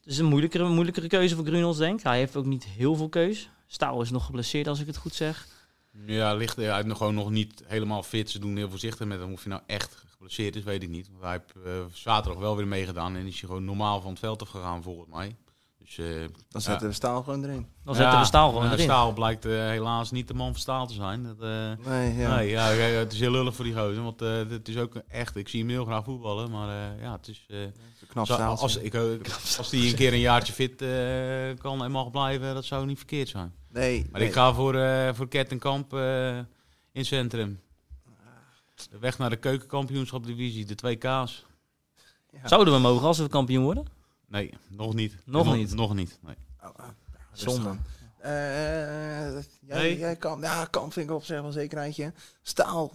Speaker 1: is een moeilijkere, moeilijkere keuze voor Grunels, denk ik. Hij heeft ook niet heel veel keus. Staal is nog geblesseerd, als ik het goed zeg.
Speaker 2: Ja, ligt hij heeft nog gewoon nog niet helemaal fit. Ze doen heel voorzichtig met hem. Of hij nou echt geblesseerd is, weet ik niet. Want hij heeft eh, zaterdag wel weer meegedaan en is hij gewoon normaal van het veld afgegaan volgens mij. Dus, eh,
Speaker 3: Dan zetten we staal gewoon erin.
Speaker 1: Dan zetten we Staal gewoon
Speaker 2: ja,
Speaker 1: erin.
Speaker 2: Staal blijkt eh, helaas niet de man van Staal te zijn. Dat, eh,
Speaker 3: Nee, ja.
Speaker 2: Nee, ja, ja, ja, het is heel lullig voor die gozer. Want eh, het is ook echt, ik zie hem heel graag voetballen. Maar eh, ja, het is... eh,
Speaker 3: Knap
Speaker 2: zou-
Speaker 3: staal.
Speaker 2: als, ik, eh, als die een keer een jaartje fit eh, kan en mag blijven, dat zou niet verkeerd zijn.
Speaker 3: Nee,
Speaker 2: Maar
Speaker 3: nee.
Speaker 2: ik ga voor, eh voor Kettenkamp eh, in het centrum. De weg naar de keukenkampioenschapdivisie, de 2K's.
Speaker 3: Ja.
Speaker 1: Zouden we mogen als we kampioen worden?
Speaker 2: Nee, nog niet.
Speaker 1: Nog niet?
Speaker 2: Nog niet, nee.
Speaker 3: Oh, ah, rustig
Speaker 1: Zonde.
Speaker 3: aan. Eh, eh, jij,
Speaker 2: Nee.
Speaker 3: jij kan, ja, kan vind ik op zich wel zeker eindje. Staal.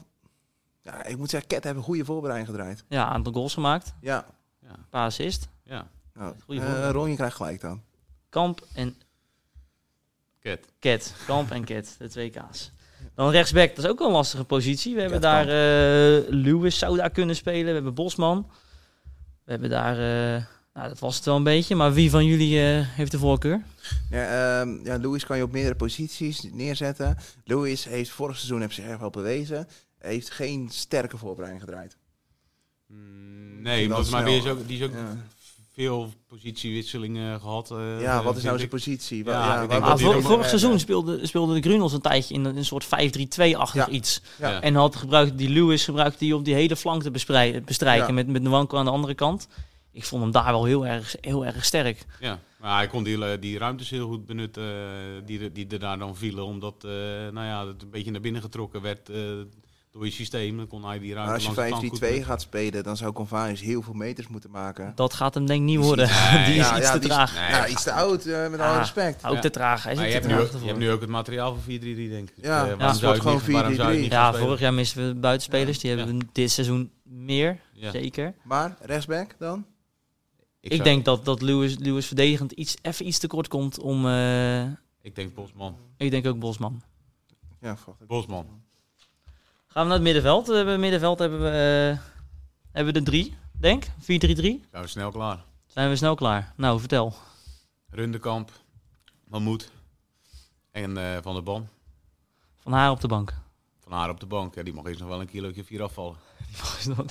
Speaker 3: Ja, ik moet zeggen, Ket hebben goede voorbereiding gedraaid.
Speaker 1: Ja, een aantal goals gemaakt.
Speaker 3: Ja.
Speaker 1: Een paar assist.
Speaker 2: Ja,
Speaker 3: Nou,
Speaker 1: Goeie
Speaker 3: eh,
Speaker 1: voorbereiding.
Speaker 3: Ron, je krijgt gelijk dan.
Speaker 1: Kamp en
Speaker 2: Ket.
Speaker 1: Ket. Kamp en Ket, de twee K's. Dan rechtsback, dat is ook wel een lastige positie. We hebben daar
Speaker 3: Ketkamp.
Speaker 1: eh Lewis zou daar kunnen spelen. We hebben Bosman. We hebben daar... eh, nou, dat was het wel een beetje. Maar wie van jullie eh, heeft de voorkeur?
Speaker 3: Ja, ehm, ja, Louis kan je op meerdere posities neerzetten. Louis heeft vorig seizoen heeft zich erg wel bewezen. Heeft geen sterke voorbereiding gedraaid.
Speaker 2: Mm,
Speaker 3: Ging
Speaker 2: Nee,
Speaker 3: wel
Speaker 2: dat maar
Speaker 3: snel.
Speaker 2: die is ook, die is ook
Speaker 3: Ja,
Speaker 2: veel positiewisselingen gehad. eh,
Speaker 3: ja wat is
Speaker 2: vind
Speaker 3: nou zijn
Speaker 2: ik.
Speaker 3: positie?
Speaker 2: Ja,
Speaker 3: Wa-
Speaker 2: ik denk
Speaker 3: waar-
Speaker 2: dat
Speaker 1: Ah,
Speaker 2: die
Speaker 1: vor-
Speaker 2: dan- eh,
Speaker 1: vorig seizoen speelde, speelde de Grunels een tijdje in een, een soort 5-3-2-achtig
Speaker 3: Ja.
Speaker 1: iets.
Speaker 3: Ja.
Speaker 2: Ja.
Speaker 1: En had gebruikt die Lewis gebruikt die op die hele flank te besprij- bestrijken
Speaker 3: Ja.
Speaker 1: met, met Nwanko aan de andere kant. Ik vond hem daar wel heel erg, heel erg sterk.
Speaker 2: Ja, maar hij kon die, eh, die ruimtes heel goed benutten eh, die, er- die er daar dan vielen. Omdat eh, nou ja, het een beetje naar binnen getrokken werd eh, door je systeem. Dan kon hij die
Speaker 3: Maar
Speaker 2: ruimte
Speaker 3: als je
Speaker 2: langs de flank goed
Speaker 3: 5-3-2 gaat spelen, dan zou Convarius heel veel meters moeten maken.
Speaker 1: Dat gaat hem denk ik niet
Speaker 3: Die is
Speaker 1: worden.
Speaker 3: iets-
Speaker 1: die is
Speaker 3: Ja,
Speaker 1: iets
Speaker 3: ja,
Speaker 1: te
Speaker 3: die is-
Speaker 1: traag.
Speaker 2: Nee,
Speaker 3: ja, iets te oud, eh, met alle
Speaker 1: Ah,
Speaker 3: respect.
Speaker 1: Ook
Speaker 2: Ja.
Speaker 1: te traag. Hij is
Speaker 2: Maar
Speaker 1: ook
Speaker 2: je
Speaker 1: te
Speaker 2: hebt, nu,
Speaker 1: traag
Speaker 2: ook- je
Speaker 1: ervoor.
Speaker 2: hebt nu ook het materiaal voor 4-3-3, denk ik. Dus,
Speaker 3: Ja,
Speaker 2: eh,
Speaker 3: ja,
Speaker 2: waarom
Speaker 3: het
Speaker 2: zou
Speaker 3: wordt
Speaker 2: je het niet-
Speaker 3: gewoon
Speaker 2: waarom zou je het
Speaker 3: 4-3-3.
Speaker 2: niet gaan
Speaker 1: Ja,
Speaker 2: spelen?
Speaker 1: vorig jaar misten we buitenspelers. Die
Speaker 2: Ja.
Speaker 1: hebben we dit seizoen meer.
Speaker 2: Ja.
Speaker 1: Zeker.
Speaker 3: Maar rechtsback dan?
Speaker 1: Ik,
Speaker 2: zou-
Speaker 1: denk dat, dat Lewis, Lewis verdedigend iets, even iets tekort komt om... eh,
Speaker 2: Ik denk Bosman.
Speaker 1: ik denk ook Bosman.
Speaker 3: Ja, volgens mij.
Speaker 2: Bosman.
Speaker 1: Gaan we naar het middenveld. We hebben, middenveld hebben we, eh, hebben we de drie, denk 4-3-3.
Speaker 2: Zijn we snel klaar.
Speaker 1: Zijn we snel klaar. Nou, vertel.
Speaker 2: Rundekamp, Mahmoed en eh, Van der Ban.
Speaker 1: Van haar op de bank.
Speaker 2: Van haar op de bank. Ja, die mag eens nog wel een kilootje vier afvallen.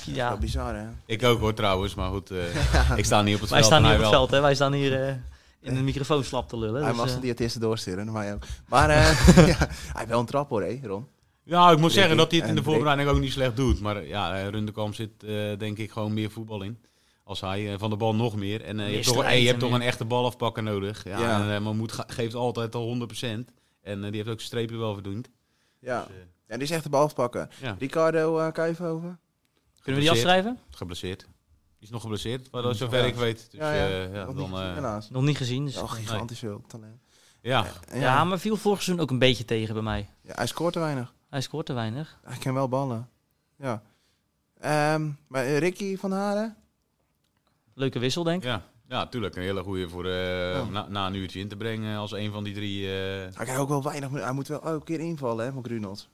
Speaker 1: ja.
Speaker 3: Wel bizar, hè?
Speaker 2: Ik ook hoor trouwens, maar goed. eh, ik sta niet op het
Speaker 1: Wij
Speaker 2: veld
Speaker 1: staan hier op
Speaker 2: en hij
Speaker 1: het
Speaker 2: wel.
Speaker 1: veld, hè. Wij staan hier eh, in de microfoon slap te lullen.
Speaker 3: hij
Speaker 1: dus,
Speaker 3: mag
Speaker 1: eh,
Speaker 3: zijn diëtisten doorsturen, maar ook. Maar eh, ja, hij heeft wel een trap hoor, hè, Ron?
Speaker 2: Ja, ik moet
Speaker 3: Breking
Speaker 2: zeggen dat hij het in de
Speaker 3: en
Speaker 2: voorbereiding ook niet slecht doet. Maar eh, ja, eh, Rundekamp zit eh, denk ik gewoon meer voetbal in. Als hij eh, van de bal nog meer. En eh, je
Speaker 1: Meer
Speaker 2: hebt, toch,
Speaker 1: strijd
Speaker 2: eh, je
Speaker 1: en
Speaker 2: hebt toch
Speaker 1: meer.
Speaker 2: een echte balafpakker nodig. Ja,
Speaker 3: Ja.
Speaker 2: En, eh, Mahmoed ga- geeft altijd al 100%. En eh, die heeft ook zijn strepen wel verdiend.
Speaker 1: Ah.
Speaker 3: Ja.
Speaker 2: Dus, eh,
Speaker 3: ja, die is echt de bal afpakken.
Speaker 2: ja,
Speaker 3: Ricardo eh Kuifhoven?
Speaker 1: kunnen we die afschrijven?
Speaker 2: Geblesseerd. Die is nog geblesseerd, maar dat is zover
Speaker 3: Mm. Oh Ja.
Speaker 2: ik weet. Dus,
Speaker 3: ja, ja.
Speaker 2: eh, ja,
Speaker 3: Nog
Speaker 2: dan,
Speaker 3: niet,
Speaker 2: eh,
Speaker 3: helaas.
Speaker 1: Nog niet gezien. Dus.
Speaker 3: Oh, gigantisch veel talent.
Speaker 2: ja.
Speaker 3: En
Speaker 1: ja.
Speaker 3: Ja,
Speaker 1: maar viel vorig seizoen ook een beetje tegen bij mij.
Speaker 3: ja, hij scoort te weinig.
Speaker 1: Hij scoort te weinig.
Speaker 3: Hij kan wel ballen. Ja. Ehm, maar eh, Ricky van Haren?
Speaker 1: Leuke wissel, denk ik.
Speaker 2: Ja. ja, tuurlijk. Een hele goede voor eh,
Speaker 3: Ja.
Speaker 2: om na, na een uurtje in te brengen als een van die drie. eh,
Speaker 3: Hij krijgt ook wel weinig. minu- Hij moet wel elke keer invallen, hè, van Grunot.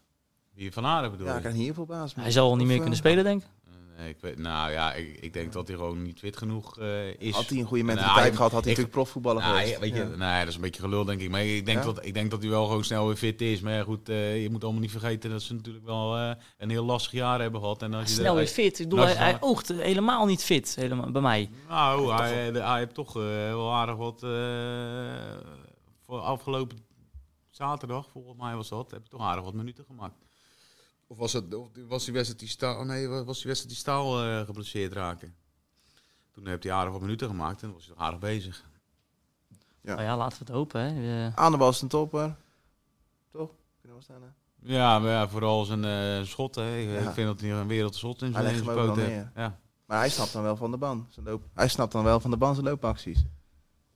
Speaker 2: die van Haren bedoel
Speaker 3: Ja, hij
Speaker 2: ik.
Speaker 3: kan hier voor baas.
Speaker 1: Hij zal wel niet
Speaker 3: Of,
Speaker 1: meer
Speaker 3: eh,
Speaker 1: kunnen spelen, denk ik.
Speaker 2: Nee, ik weet, nou ja, ik, ik denk dat hij gewoon niet fit genoeg eh, is.
Speaker 3: Had hij een goede
Speaker 2: Nou,
Speaker 3: mentaliteit
Speaker 2: ik-
Speaker 3: gehad, had hij
Speaker 2: ik-
Speaker 3: natuurlijk profvoetballer
Speaker 2: Nou,
Speaker 3: geweest.
Speaker 2: ja, weet je,
Speaker 3: Ja.
Speaker 2: nee, dat is een beetje gelul, denk ik. Maar ik denk,
Speaker 3: Ja?
Speaker 2: dat, ik denk dat hij wel gewoon snel weer fit is. Maar ja, goed, eh, je moet allemaal niet vergeten dat ze natuurlijk wel eh, een heel lastig jaar hebben gehad. En als je
Speaker 1: Snel
Speaker 2: er-
Speaker 1: weer fit. Ik bedoel, hij,
Speaker 2: Nou, snel-
Speaker 1: hij oogt helemaal niet fit helemaal, bij mij.
Speaker 2: Nou, hij, eh, de- hij heeft toch eh, wel aardig wat. eh, voor afgelopen zaterdag, volgens mij was dat, heb ik toch aardig wat minuten gemaakt. Of was, het, of was die wedstrijd die staal, nee, was die wedstrijd die staal eh, geblesseerd raken? Toen heeft hij aardig wat minuten gemaakt en was hij toch aardig bezig.
Speaker 3: Ja.
Speaker 1: Nou ja, laten we het hopen. Hè. Eh,
Speaker 3: Aan de bal is een topper. Toch? Kunnen we staan, hè?
Speaker 2: Ja, maar ja, vooral zijn eh schot. Hè. Ik,
Speaker 3: Ja.
Speaker 2: ik vind dat hij een wereldschot in
Speaker 3: Hij
Speaker 2: zijn
Speaker 3: legt
Speaker 2: in
Speaker 3: hem
Speaker 2: zijn
Speaker 3: ook
Speaker 2: poot
Speaker 3: wel
Speaker 2: heeft. Ja.
Speaker 3: Maar hij snapt dan wel van de ban. Zijn loop... Hij snapt dan wel van de ban zijn loopacties.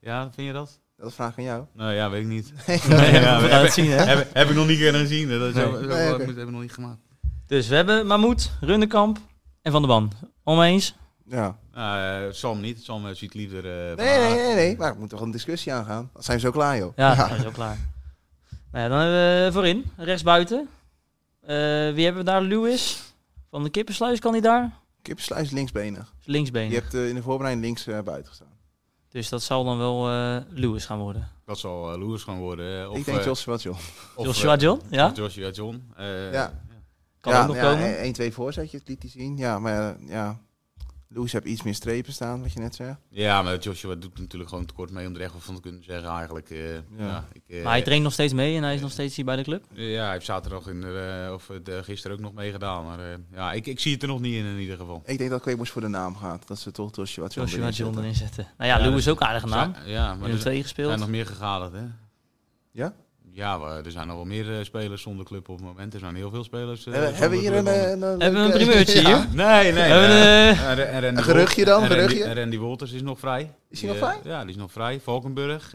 Speaker 2: ja, vind je dat?
Speaker 3: Dat vraag ik aan jou.
Speaker 2: Nou ja, weet ik niet.
Speaker 1: Nee,
Speaker 2: ja,
Speaker 1: we
Speaker 2: we
Speaker 1: gaan
Speaker 2: hebben-
Speaker 1: het zien, hè?
Speaker 2: heb, heb ik nog niet kunnen gezien. Dat is
Speaker 1: Nee.
Speaker 2: zo, zo,
Speaker 3: Nee, oké.
Speaker 2: moet- heb ik nog niet gemaakt.
Speaker 1: Dus we hebben Mahmoed, Rundekamp en Van der Ban. Oneens?
Speaker 3: Ja.
Speaker 2: Nou, eh, Sam niet. Sam eh, ziet liever... eh,
Speaker 3: Nee,
Speaker 2: maar-
Speaker 3: nee, nee, nee. Maar we moeten toch een discussie aangaan. Dan zijn we zo klaar, joh.
Speaker 1: Ja, dat is ook klaar. Nou ja, dan hebben we voorin, rechtsbuiten. Eh, wie hebben we daar? Lewis van de Kippensluis kan hij daar.
Speaker 3: Kippensluis linksbenig.
Speaker 1: Is Linksbeen.
Speaker 3: Je hebt eh, in de voorbereiding links eh, buiten gestaan.
Speaker 1: Dus dat zal dan wel eh, Lewis gaan worden.
Speaker 2: Dat zal eh, Lewis gaan worden. eh, Of,
Speaker 3: ik denk
Speaker 2: eh,
Speaker 3: Joshua, joh.
Speaker 2: of,
Speaker 1: Joshua
Speaker 2: eh,
Speaker 1: John, ja?
Speaker 2: of Joshua John. eh,
Speaker 3: Ja.
Speaker 1: Kan
Speaker 3: ja,
Speaker 1: ook nog
Speaker 3: ja,
Speaker 1: komen.
Speaker 3: e- één, twee voorzetjes liet hij zien. Ja, maar eh, ja. Lewis heeft iets meer strepen staan, wat je net zei.
Speaker 2: Ja, maar Joshua doet natuurlijk gewoon tekort mee om er echt wat van te kunnen zeggen eigenlijk. eh, ja, ik, eh,
Speaker 1: Maar hij traint nog steeds mee en hij is nog steeds hier bij de club.
Speaker 2: Ja, hij heeft zaterdag in, de, eh, of het, eh, gisteren ook nog meegedaan. Maar eh, ja, ik, ik zie het er nog niet in in ieder geval.
Speaker 3: Ik denk dat Kweekboers voor de naam gaat. Dat ze toch Joshua John
Speaker 1: Joshua
Speaker 3: erin
Speaker 1: John
Speaker 3: zetten.
Speaker 1: erin zetten. Nou ja,
Speaker 2: Ja,
Speaker 1: Lewis
Speaker 2: dus-
Speaker 1: is ook aardige naam.
Speaker 2: Zijn- Ja, maar
Speaker 1: Nummer
Speaker 2: er
Speaker 1: 2
Speaker 2: zijn- zijn
Speaker 1: gespeeld.
Speaker 2: nog meer gegaderd, hè?
Speaker 3: Ja?
Speaker 2: Ja, we- er zijn nog wel meer eh, spelers zonder club op het moment. Er zijn heel veel spelers. eh,
Speaker 3: Hebben,
Speaker 2: zonder
Speaker 3: hebben we hier
Speaker 2: club
Speaker 3: een,
Speaker 2: op het
Speaker 3: eh,
Speaker 2: moment.
Speaker 3: een, een,
Speaker 1: Hebben we een
Speaker 3: leuke-
Speaker 1: primeurtje
Speaker 3: Ja.
Speaker 1: hier?
Speaker 2: Nee, nee.
Speaker 1: Hebben we,
Speaker 2: eh,
Speaker 1: eh,
Speaker 2: en- en Randy
Speaker 3: een geruchtje
Speaker 2: Wol-
Speaker 3: dan,
Speaker 2: en Randy,
Speaker 3: geruchtje?
Speaker 2: en Randy Wolters is nog vrij.
Speaker 3: Is hij nog
Speaker 2: Die, eh,
Speaker 3: vrij?
Speaker 2: Ja, die is nog vrij. Valkenburg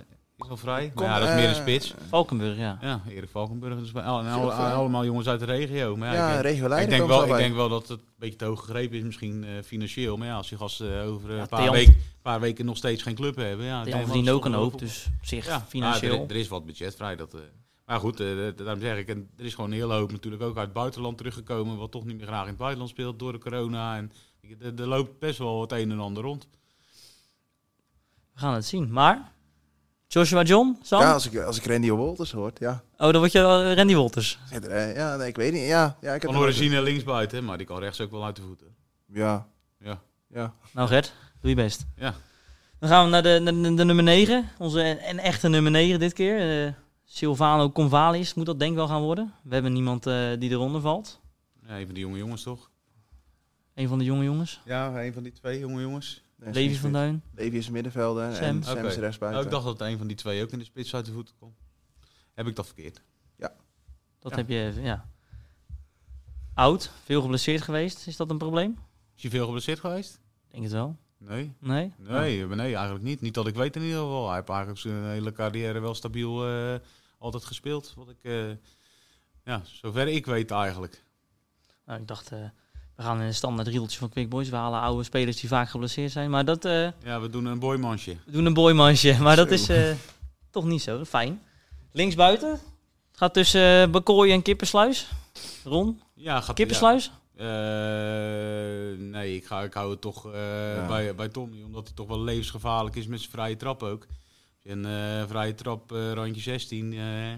Speaker 2: is nog vrij.
Speaker 3: Kom,
Speaker 2: maar ja, dat is meer een
Speaker 3: eh,
Speaker 2: spits.
Speaker 1: Valkenburg, ja.
Speaker 2: Ja, Erik Valkenburg. Dus, al- en
Speaker 3: Is
Speaker 2: al-
Speaker 3: ook vrij.
Speaker 2: allemaal jongens uit de regio. Maar ja,
Speaker 3: Ja,
Speaker 2: ik-
Speaker 3: regio
Speaker 2: ik
Speaker 3: Leiden
Speaker 2: denk,
Speaker 3: komen
Speaker 2: wel,
Speaker 3: ze al
Speaker 2: ik
Speaker 3: bij.
Speaker 2: denk wel dat het een beetje te hoog gegrepen is, misschien eh, financieel. Maar ja, als die gasten eh, over eh,
Speaker 1: Ja,
Speaker 2: een paar,
Speaker 1: Thean-
Speaker 2: weken paar weken nog steeds geen club hebben. Ja, ik
Speaker 1: Die
Speaker 2: denk
Speaker 1: anderen verdienen
Speaker 2: wel
Speaker 1: ook een
Speaker 2: dat
Speaker 1: hoop,
Speaker 2: ze toch
Speaker 1: dus op Ah, zich
Speaker 2: wel- Ja,
Speaker 1: financieel.
Speaker 2: maar Er, er is wat budget vrij. Dat, eh, maar goed, eh, dat- daarom zeg ik, en er is gewoon een hele hoop natuurlijk ook uit het buitenland teruggekomen. Wat toch niet meer graag in het buitenland speelt door de corona. En er, er loopt best wel het een en ander rond.
Speaker 1: We gaan het zien. Maar Joshua John, Sam?
Speaker 3: Ja, als ik, als ik Randy Walters hoort, ja.
Speaker 1: Oh, dan word je wel Randy Wolters.
Speaker 3: Zit er, eh, Ja, nee, ik weet niet. Ja, ja ik heb
Speaker 2: Van
Speaker 3: nog-
Speaker 2: origine linksbuiten, maar die kan rechts ook wel uit de voeten.
Speaker 3: Ja.
Speaker 2: Ja.
Speaker 3: Ja.
Speaker 1: Nou Gert, doe je best.
Speaker 2: Ja.
Speaker 1: Dan gaan we naar de, de, de nummer 9. Onze en echte nummer 9 dit keer. Eh, Silvano Convalis moet dat denk ik wel gaan worden. We hebben niemand eh, die eronder valt.
Speaker 2: Ja, een van die jonge jongens toch?
Speaker 1: Een van de jonge jongens.
Speaker 2: Ja, een van die twee jonge jongens.
Speaker 3: Nee,
Speaker 1: Levi
Speaker 3: Smit.
Speaker 1: van Duin.
Speaker 3: Levi is een middenvelder
Speaker 1: Sam.
Speaker 3: en Sam is
Speaker 2: Oké.
Speaker 3: rechtsbuiten.
Speaker 2: Oh, ik dacht dat een van die twee ook in de spits uit de voeten kwam. Heb ik dat verkeerd?
Speaker 1: Dat
Speaker 2: Ja.
Speaker 1: heb je, even, ja. Oud, veel geblesseerd geweest. Is dat een probleem?
Speaker 2: Is je veel geblesseerd geweest?
Speaker 1: Denk het wel.
Speaker 2: Nee.
Speaker 1: Nee?
Speaker 2: Nee, eh, nee, eigenlijk niet. Niet dat ik weet in ieder geval. Hij heeft eigenlijk zijn hele carrière wel stabiel eh, altijd gespeeld. Wat ik, eh, ja, zover ik weet eigenlijk.
Speaker 1: Nou, ik dacht, eh, we gaan in een standaard rieltje van Quick Boys. We halen oude spelers die vaak geblesseerd zijn. Maar dat, eh,
Speaker 2: Ja, we doen een boymansje.
Speaker 1: we doen een boymansje. Maar dat
Speaker 3: Zo.
Speaker 1: is eh, toch niet zo. Fijn. Linksbuiten. Het gaat tussen eh Bakooi en Kippersluis. Ron,
Speaker 2: Ja, gaat
Speaker 1: Kippersluis?
Speaker 2: ja. Eh, nee, ik, ga, ik hou het toch eh,
Speaker 3: Ja.
Speaker 2: bij, bij Tommy. Omdat hij toch wel levensgevaarlijk is met zijn vrije trap ook. En eh, vrije trap, eh, randje 16. eh,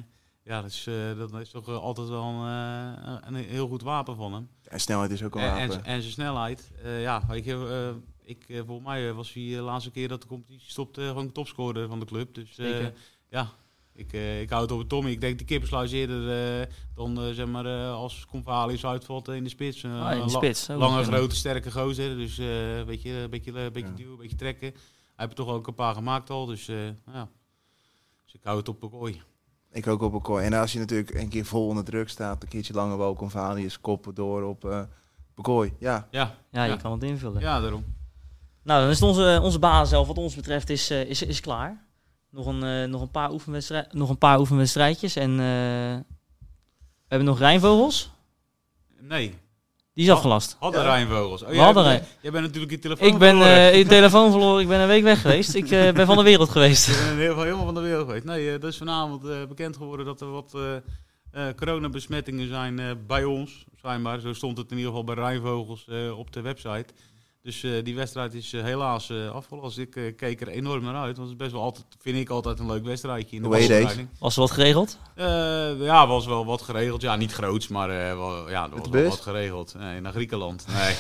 Speaker 2: ja, dat is, eh, dat is toch eh, altijd wel een, eh, een heel goed wapen van hem.
Speaker 3: En snelheid is ook een
Speaker 2: En, en,
Speaker 3: wapen.
Speaker 2: zijn- en zijn snelheid. Eh, ja, weet je, eh, ik, eh, volgens mij eh, was hij de laatste keer dat de competitie stopte eh, gewoon topscorer van de club. Dus eh,
Speaker 1: Zeker.
Speaker 2: ja, ik, eh, ik hou het op het Tommy. Ik denk de kippersluis eerder eh, dan eh, zeg maar, eh, als Convalius uitvalt eh, in de spits. Eh,
Speaker 1: Ah, in de
Speaker 2: la-
Speaker 1: spits. Ook
Speaker 2: lange,
Speaker 1: nog kunnen.
Speaker 2: grote, sterke gozer. Dus eh, weet je, een beetje, een beetje
Speaker 3: Ja.
Speaker 2: duwen, een beetje trekken. Hij heeft er toch ook een paar gemaakt al. Dus eh, ja, dus ik hou het op kooi.
Speaker 3: Ik ook op een kooi. En als je natuurlijk een keer vol onder druk staat, een keertje lange bal komt varen, je koppen door op eh Bekooi. Ja,
Speaker 2: Ja,
Speaker 1: Ja, je
Speaker 2: Ja.
Speaker 1: kan het invullen.
Speaker 2: ja, daarom.
Speaker 1: Nou, dan is het onze, onze baas zelf, wat ons betreft, is, eh, is, is klaar. Nog een, eh, nog, een paar oefenwedstrij- nog een paar oefenwedstrijdjes. En eh, we hebben nog Rijnvogels.
Speaker 2: Nee,
Speaker 1: Die is afgelast.
Speaker 2: hadden
Speaker 3: Ja.
Speaker 2: Rijnvogels. Oh,
Speaker 1: We
Speaker 2: jij
Speaker 1: hadden
Speaker 2: hebt-
Speaker 1: Rijn-
Speaker 2: Jij bent natuurlijk je telefoon
Speaker 1: Ik ben
Speaker 2: verloren.
Speaker 1: eh, je telefoon verloren, ik ben een week weg geweest. Ik eh, ben van de wereld geweest.
Speaker 2: Ik ben in ieder geval helemaal van de wereld geweest. Nee, eh, er is vanavond eh, bekend geworden dat er wat eh eh, coronabesmettingen zijn eh, bij ons, schijnbaar. Zo stond het in ieder geval bij Rijnvogels eh, op de website. Dus eh, die wedstrijd is eh, helaas eh afgelast. Ik eh, keek er enorm naar uit, want het is best wel altijd, vind ik altijd een leuk wedstrijdje in de
Speaker 3: Hoe heet deze?
Speaker 2: voorbereiding.
Speaker 1: Was er wat geregeld?
Speaker 2: Eh, ja, was wel wat geregeld. Ja, niet groots, maar eh, wel, ja, er was
Speaker 3: bus?
Speaker 2: wel wat geregeld. Nee, naar Griekenland. Nee,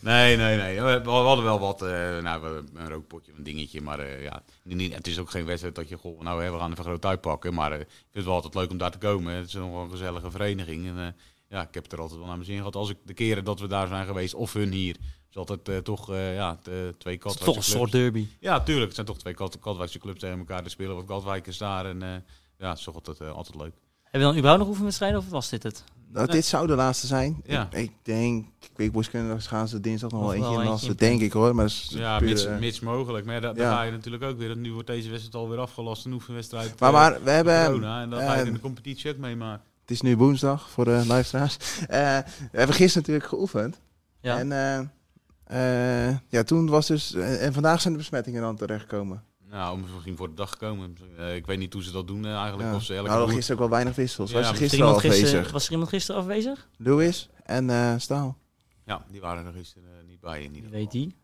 Speaker 2: nee, nee. nee. We, we hadden wel wat. eh, nou, we- een rookpotje, een dingetje. Maar eh, ja, niet- niet- het is ook geen wedstrijd dat je... Goh, nou, hè, we gaan even groot uitpakken. Maar eh, ik vind het wel altijd leuk om daar te komen. Het is nog wel een gezellige vereniging. En, eh, ja, ik heb er altijd wel naar mijn zin gehad. Als ik de keren dat we daar zijn geweest, of hun hier... is altijd eh, toch eh, ja, t- eh, twee
Speaker 1: Het is
Speaker 2: katten.
Speaker 1: toch een soort derby.
Speaker 2: Ja, tuurlijk. Het zijn toch twee Kat- Katwijkse clubs tegen elkaar. Er spelen wat Katwijkers daar. En eh, ja, het is toch altijd, eh, altijd leuk.
Speaker 1: Hebben we dan überhaupt nog oefenwedstrijden of was dit het?
Speaker 3: Nou, dit zou de laatste zijn.
Speaker 2: Ja.
Speaker 3: Ik, ik denk, Quickboys kunnen nog- gaan ze dinsdag nog wel
Speaker 1: Nog wel
Speaker 3: eentje in
Speaker 1: eentje
Speaker 3: lassen,
Speaker 1: in.
Speaker 3: denk ik hoor. Maar dat is
Speaker 2: Ja,
Speaker 3: puur,
Speaker 2: mits,
Speaker 3: eh,
Speaker 2: mits mogelijk. Maar ja, daar daar
Speaker 3: ja.
Speaker 2: ga je natuurlijk ook weer. want Nu wordt deze wedstrijd alweer afgelast. Een oefenwedstrijd.
Speaker 3: maar,
Speaker 2: eh,
Speaker 3: maar we
Speaker 2: door
Speaker 3: hebben,
Speaker 2: corona. En dan ga je het in
Speaker 3: ehm,
Speaker 2: de competitie ook meemaken.
Speaker 3: het is nu woensdag voor de luisteraars. Eh, we hebben gisteren natuurlijk geoefend.
Speaker 1: Ja.
Speaker 3: En eh, eh, ja, toen was dus, en, en vandaag zijn de besmettingen dan terechtgekomen.
Speaker 2: Nou, om misschien voor de dag te komen. Eh, ik weet niet hoe ze dat doen eh, eigenlijk.
Speaker 3: Ja.
Speaker 2: Of ze elke
Speaker 3: Nou,
Speaker 2: boer-
Speaker 3: gisteren ook wel weinig wissels.
Speaker 2: Ja,
Speaker 3: was er
Speaker 1: was,
Speaker 2: maar
Speaker 1: er
Speaker 3: gisteren al
Speaker 1: iemand
Speaker 3: afwezig?
Speaker 1: gisteren, was er iemand gisteren afwezig?
Speaker 3: Lewis en eh, Staal.
Speaker 2: Ja, die waren er gisteren eh, niet bij in
Speaker 1: Wie
Speaker 2: ieder geval.
Speaker 1: weet die.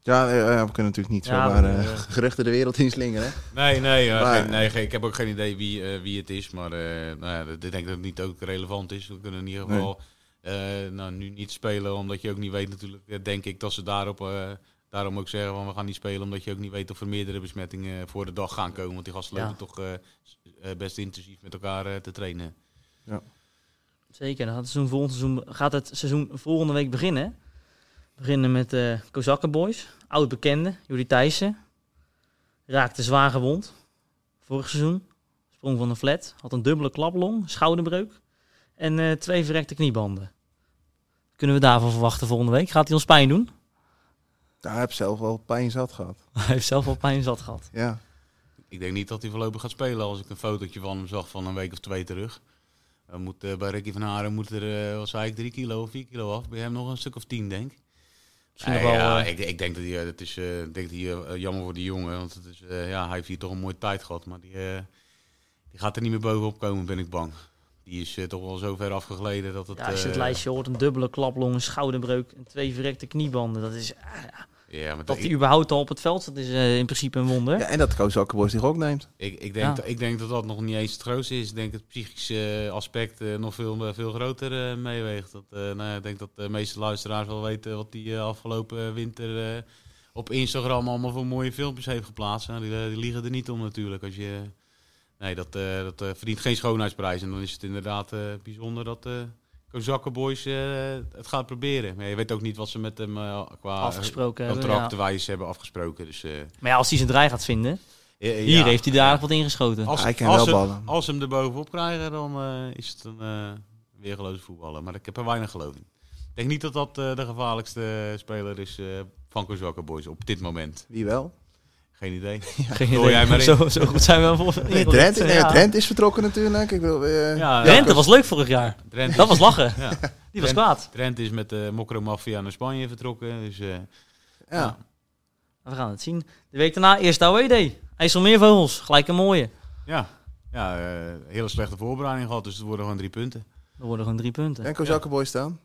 Speaker 3: Ja, eh, eh, we kunnen natuurlijk niet
Speaker 1: Ja,
Speaker 3: zomaar
Speaker 1: we-
Speaker 3: eh, geruchten de wereld in slingeren. hè?
Speaker 2: Nee, nee, eh,
Speaker 3: Maar-
Speaker 2: geen- nee geen- ik heb ook geen idee wie, eh, wie het is. Maar eh, nou ja, dat- ik denk dat het niet ook relevant is. We kunnen in ieder geval eh, nou, nu niet spelen, omdat je ook niet weet natuurlijk. eh, Denk ik dat ze daarop, eh, daarom ook zeggen van we gaan niet spelen, omdat je ook niet weet of er meerdere besmettingen eh, voor de dag gaan komen. Want die gasten
Speaker 1: Ja.
Speaker 2: lopen toch eh, s- eh, best intensief met elkaar eh, te trainen.
Speaker 1: Zeker. Dan gaat het, seizoen volgend seizoen, gaat het seizoen volgende week beginnen. We beginnen met eh Kozakken Boys. Oud bekende, Jullie Thijssen. Raakte zwaar gewond. Vorig seizoen. Sprong van een flat. Had een dubbele klaplong, schouderbreuk. En eh, twee verrekte kniebanden. Kunnen we daarvan verwachten volgende week? Gaat hij ons pijn doen?
Speaker 3: Nou, hij heeft zelf wel pijn zat gehad.
Speaker 1: Hij heeft zelf al pijn zat gehad.
Speaker 3: Ja.
Speaker 2: Ik denk niet dat hij voorlopig gaat spelen als ik een fotootje van hem zag van een week of twee terug. Dan moet, eh, bij Ricky van Haren moet er, eh, wat zei ik, drie kilo of vier kilo af. Bij hem nog een stuk of tien, denk ik.
Speaker 1: Misschien
Speaker 2: Nee,
Speaker 1: nog wel...
Speaker 2: ja,
Speaker 1: eh,
Speaker 2: ik, ik denk dat hij, eh, dat is, eh, ik denk dat hij eh, jammer voor die jongen. Want het is, eh, ja, hij heeft hier toch een mooie tijd gehad. Maar die, eh, die gaat er niet meer bovenop komen, ben ik bang. Die is eh, toch wel zo ver afgegleden dat het...
Speaker 1: ja, als je het
Speaker 2: eh,
Speaker 1: lijstje hoort, een dubbele klaplong, een schouderbreuk en twee verrekte kniebanden. Dat is,
Speaker 2: Ja, maar
Speaker 1: dat
Speaker 2: ik-
Speaker 1: hij überhaupt al op het veld zat, is eh, in principe een wonder.
Speaker 3: ja, en dat Koos Akkerboys zich ook neemt.
Speaker 2: Ik, ik, denk,
Speaker 1: Ja.
Speaker 2: dat- ik denk dat dat nog niet eens het grootste is. Ik denk dat het psychische eh, aspect eh, nog veel, veel groter eh, meeweegt. Dat, eh, nou ja, ik denk dat de meeste luisteraars wel weten wat die eh, afgelopen winter eh, op Instagram allemaal voor mooie filmpjes heeft geplaatst. Nou, die, eh, die liegen er niet om natuurlijk. Als je, nee, dat, eh, dat eh, verdient geen schoonheidsprijs. En dan is het inderdaad eh, bijzonder dat eh Kozakkenboys eh, het gaat proberen. Maar je weet ook niet wat ze met hem eh, qua
Speaker 1: afgesproken hebben. ja.
Speaker 2: contractwijs hebben afgesproken. Dus, eh,
Speaker 1: Maar ja, als hij zijn draai gaat vinden,
Speaker 2: eh,
Speaker 1: hier
Speaker 2: ja.
Speaker 1: heeft hij er aardig wat ingeschoten.
Speaker 2: Als,
Speaker 3: Hij kan
Speaker 2: als
Speaker 3: wel
Speaker 2: ze-
Speaker 3: ballen.
Speaker 2: Als ze hem er bovenop krijgen, dan eh, is het een eh weergeloze voetballer. Maar ik heb er weinig geloof in. Ik denk niet dat dat eh, de gevaarlijkste speler is eh, van Kozakker Boys op dit moment.
Speaker 3: Wie wel?
Speaker 2: Geen idee.
Speaker 1: Geen
Speaker 2: gooi
Speaker 1: idee.
Speaker 2: jij maar in.
Speaker 1: zo, zo goed zijn we wel voor.
Speaker 3: Nee, Drent, nee, Drent is vertrokken natuurlijk. Ik wil, eh,
Speaker 2: eh, Ja,
Speaker 1: Drenthe was leuk vorig jaar.
Speaker 2: Drent
Speaker 1: Dat
Speaker 2: is,
Speaker 1: was lachen. Die
Speaker 2: ja.
Speaker 1: was
Speaker 2: Drenthe.
Speaker 1: kwaad.
Speaker 2: Drent is met de Mokro Mafia naar Spanje vertrokken. Dus, eh,
Speaker 3: ja.
Speaker 1: We gaan het zien. De week daarna, eerst AWD. IJsselmeervogels, gelijk een mooie.
Speaker 2: ja, ja eh, hele slechte voorbereiding gehad. Dus het worden gewoon drie punten.
Speaker 1: Dan worden gewoon drie punten.
Speaker 3: En Koos Akkerboys dan?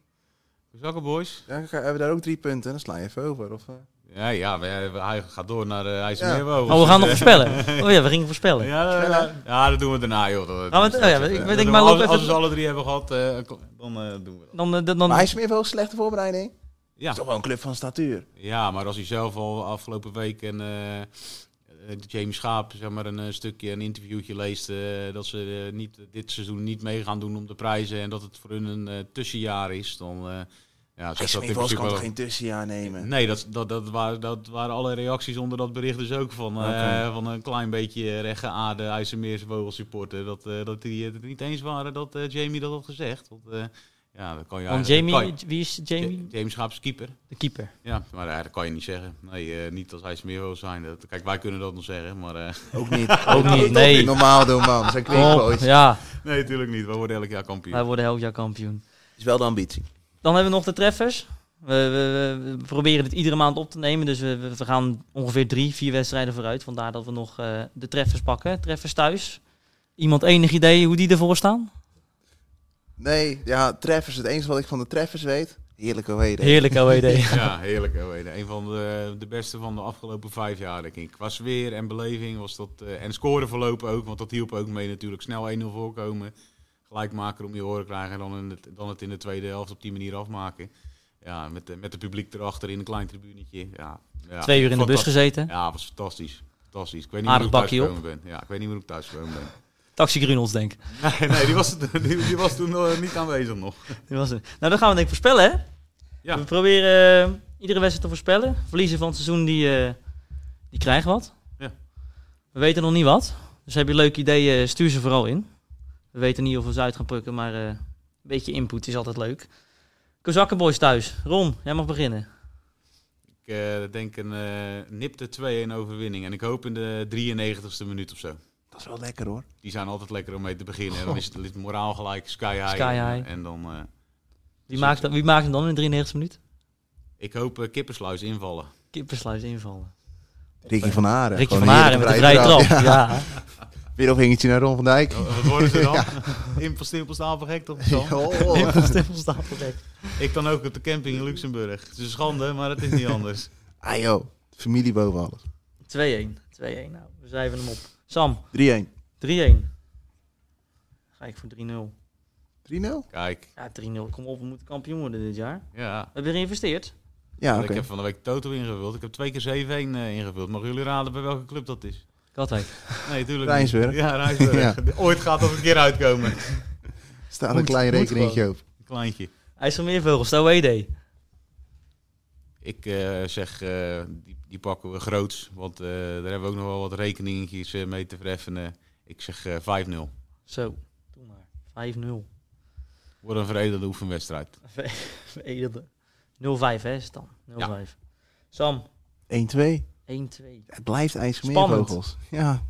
Speaker 2: Kozakker Boys.
Speaker 3: Ja, hebben we daar ook drie punten? Dan sla je even over. Of, eh?
Speaker 2: Ja, ja we- we- hij gaat door naar eh IJsselmeerwoog.
Speaker 1: Oh, we gaan nog voorspellen. Oh ja, we gingen voorspellen.
Speaker 2: eh, Ja, dat- dat- ja, dat doen we daarna, joh. Dat, dat
Speaker 1: maar-
Speaker 2: doen we
Speaker 1: oh ja,
Speaker 2: straks
Speaker 1: ik
Speaker 2: even.
Speaker 1: denk maar
Speaker 2: Dat doen we-
Speaker 1: loop
Speaker 2: als,
Speaker 1: even-
Speaker 2: als we ze alle drie hebben gehad, eh, dan eh, doen we dat.
Speaker 1: Dan, eh, dan, dan,
Speaker 3: Maar hij is meer wel slechte voorbereiding. Het
Speaker 2: Ja.
Speaker 3: is toch wel een club van statuur.
Speaker 2: ja, maar als hij zelf al afgelopen week en eh, eh, James Schaap zeg maar, een eh, stukje, een interviewtje leest... eh, dat ze eh, niet, dit seizoen niet mee gaan doen om de prijzen... en dat het voor hun een eh, tussenjaar is, dan... eh ja,
Speaker 3: Hij
Speaker 2: zegt
Speaker 3: is
Speaker 2: dat in
Speaker 3: meer wel
Speaker 2: principe
Speaker 3: kan
Speaker 2: wel-
Speaker 3: toch geen tussenjaar nemen?
Speaker 2: Nee, dat, dat, dat, waren, dat waren alle reacties onder dat bericht dus ook van, eh,
Speaker 3: Oké.
Speaker 2: van een klein beetje rechtgeaarde IJsselmeerse vogelsupporter. Dat, eh, dat die het niet eens waren dat eh, Jamie dat had gezegd. Want, eh, ja, dat kan je
Speaker 1: want
Speaker 2: eigenlijk-
Speaker 1: Jamie,
Speaker 2: kan
Speaker 1: wie is
Speaker 2: je-
Speaker 1: Jamie?
Speaker 2: Ja, James Schaap is keeper.
Speaker 1: De keeper.
Speaker 2: Ja, maar eh, dat kan je niet zeggen. Nee, eh, niet als IJsselmeervogels zijn. Dat, kijk, wij kunnen dat nog zeggen, maar... eh,
Speaker 3: Ook niet.
Speaker 1: Ook niet, nee.
Speaker 3: Normaal doen, man. We zijn
Speaker 1: Oh,
Speaker 3: quickboys.
Speaker 1: ja,
Speaker 2: nee, natuurlijk niet. We worden elk jaar kampioen.
Speaker 1: wij worden elk jaar kampioen.
Speaker 3: Is wel de ambitie.
Speaker 1: Dan hebben we nog de treffers. We, we- we- we proberen dit iedere maand op te nemen. Dus we, we- we gaan ongeveer drie, vier wedstrijden vooruit. Vandaar dat we nog eh, de treffers pakken. Treffers thuis. Iemand enig idee hoe die ervoor staan?
Speaker 3: Nee, ja, treffers. Het enige wat ik van de treffers weet. Heerlijke weder.
Speaker 1: Heerlijk OED.
Speaker 2: Ja, heerlijk. hè, Wede. Een van de, de beste van de afgelopen vijf jaar, denk ik. Qua sfeer en beleving was dat... eh, en scoren verlopen ook, want dat hielp ook mee natuurlijk. Snel 1-0 voorkomen, gelijkmaker om je horen krijgen... en dan, in het, dan het in de tweede helft op die manier afmaken. Ja, met, de- met het publiek erachter in een klein tribunetje. Ja, ja,
Speaker 1: Twee uur in de bus
Speaker 2: fantastisch.
Speaker 1: gezeten.
Speaker 2: Ja, was fantastisch. Fantastisch. Ik weet niet
Speaker 1: Aardig
Speaker 2: meer hoe ik
Speaker 1: bakkie op.
Speaker 2: thuisgekomen ben. Ja, ik weet niet meer hoe ik thuisgekomen ben.
Speaker 1: Taxi Grunels, denk ik.
Speaker 2: Nee, nee die, was, die, die was toen eh, niet aanwezig nog.
Speaker 1: Dat was het. Nou, dan gaan we denk ik voorspellen, hè?
Speaker 2: Ja.
Speaker 1: We proberen eh, iedere wedstrijd te voorspellen. Verliezen van het seizoen, die, eh, die krijgen wat.
Speaker 2: Ja.
Speaker 1: We weten nog niet wat. Dus heb je leuke ideeën, stuur ze vooral in. We weten niet of we ze uit gaan plukken, maar eh, beetje input is altijd leuk. Kozakkenboys thuis. Ron, jij mag beginnen.
Speaker 2: Ik eh, denk een eh, nipte 2-1 overwinning. En ik hoop in de 93ste minuut of zo.
Speaker 3: Dat is wel lekker hoor.
Speaker 2: Die zijn altijd lekker om mee te beginnen. En dan is het is het moraal gelijk sky high.
Speaker 1: Sky high.
Speaker 2: En, en dan, eh,
Speaker 1: Wie maakt, dat- wie maakt hem dan in de 93 minuut?
Speaker 2: ik hoop eh, kippersluis invallen.
Speaker 1: Kippersluis invallen.
Speaker 3: Ricky van Haren.
Speaker 1: Ricky
Speaker 3: Gewoon
Speaker 1: van Haren met
Speaker 3: heerlijke
Speaker 1: een vrije trap.
Speaker 3: Ja.
Speaker 1: Ja.
Speaker 3: Weer nog hingetje naar Ron van Dijk.
Speaker 2: Oh, Wat worden ze dan? Impel, stimpel, stapel, gek toch? Sam?
Speaker 3: Oh.
Speaker 1: Wimpel, stimpel, stapel, gek.
Speaker 2: Ik kan ook op de camping in Luxemburg. Het is een schande, maar het is niet anders.
Speaker 3: Ah joh, familie boven alles.
Speaker 1: 2-1. 2-1. Nou, we schrijven hem op. Sam,
Speaker 3: 3-1.
Speaker 1: 3-1. Ga ik voor 3-0.
Speaker 3: 3-0?
Speaker 2: Kijk,
Speaker 1: Ja, 3-0. Kom op, we moeten kampioen worden dit jaar.
Speaker 2: ja.
Speaker 1: We hebben geïnvesteerd.
Speaker 3: Ja,
Speaker 2: Want
Speaker 3: oké.
Speaker 2: Ik heb van de week Toto ingevuld. Ik heb twee keer 7-1 eh, ingevuld. Mogen jullie raden bij welke club dat is?
Speaker 1: Katwijk.
Speaker 2: Nee, tuurlijk
Speaker 3: Rijnsburg.
Speaker 2: niet. Ja, Rijnsburg. Ooit gaat dat een keer uitkomen.
Speaker 3: Staat een
Speaker 1: Moet-
Speaker 3: klein
Speaker 1: moet
Speaker 3: rekeningetje op.
Speaker 2: Kleintje.
Speaker 1: IJsselmeervogels, stel WD.
Speaker 2: Ik eh, zeg, eh, die, die pakken we groots. Want eh, daar hebben we ook nog wel wat rekeningetjes eh, mee te vereffenen. Ik zeg eh, 5-0.
Speaker 1: Zo, doe maar. 5-0.
Speaker 2: Wordt een veredelde oefenwedstrijd.
Speaker 1: Veredelde. 0-5 hè, is het dan. 0-5. Sam,
Speaker 3: 1-2.
Speaker 1: 1-2.
Speaker 3: Het blijft IJsselmeervogels. Ja.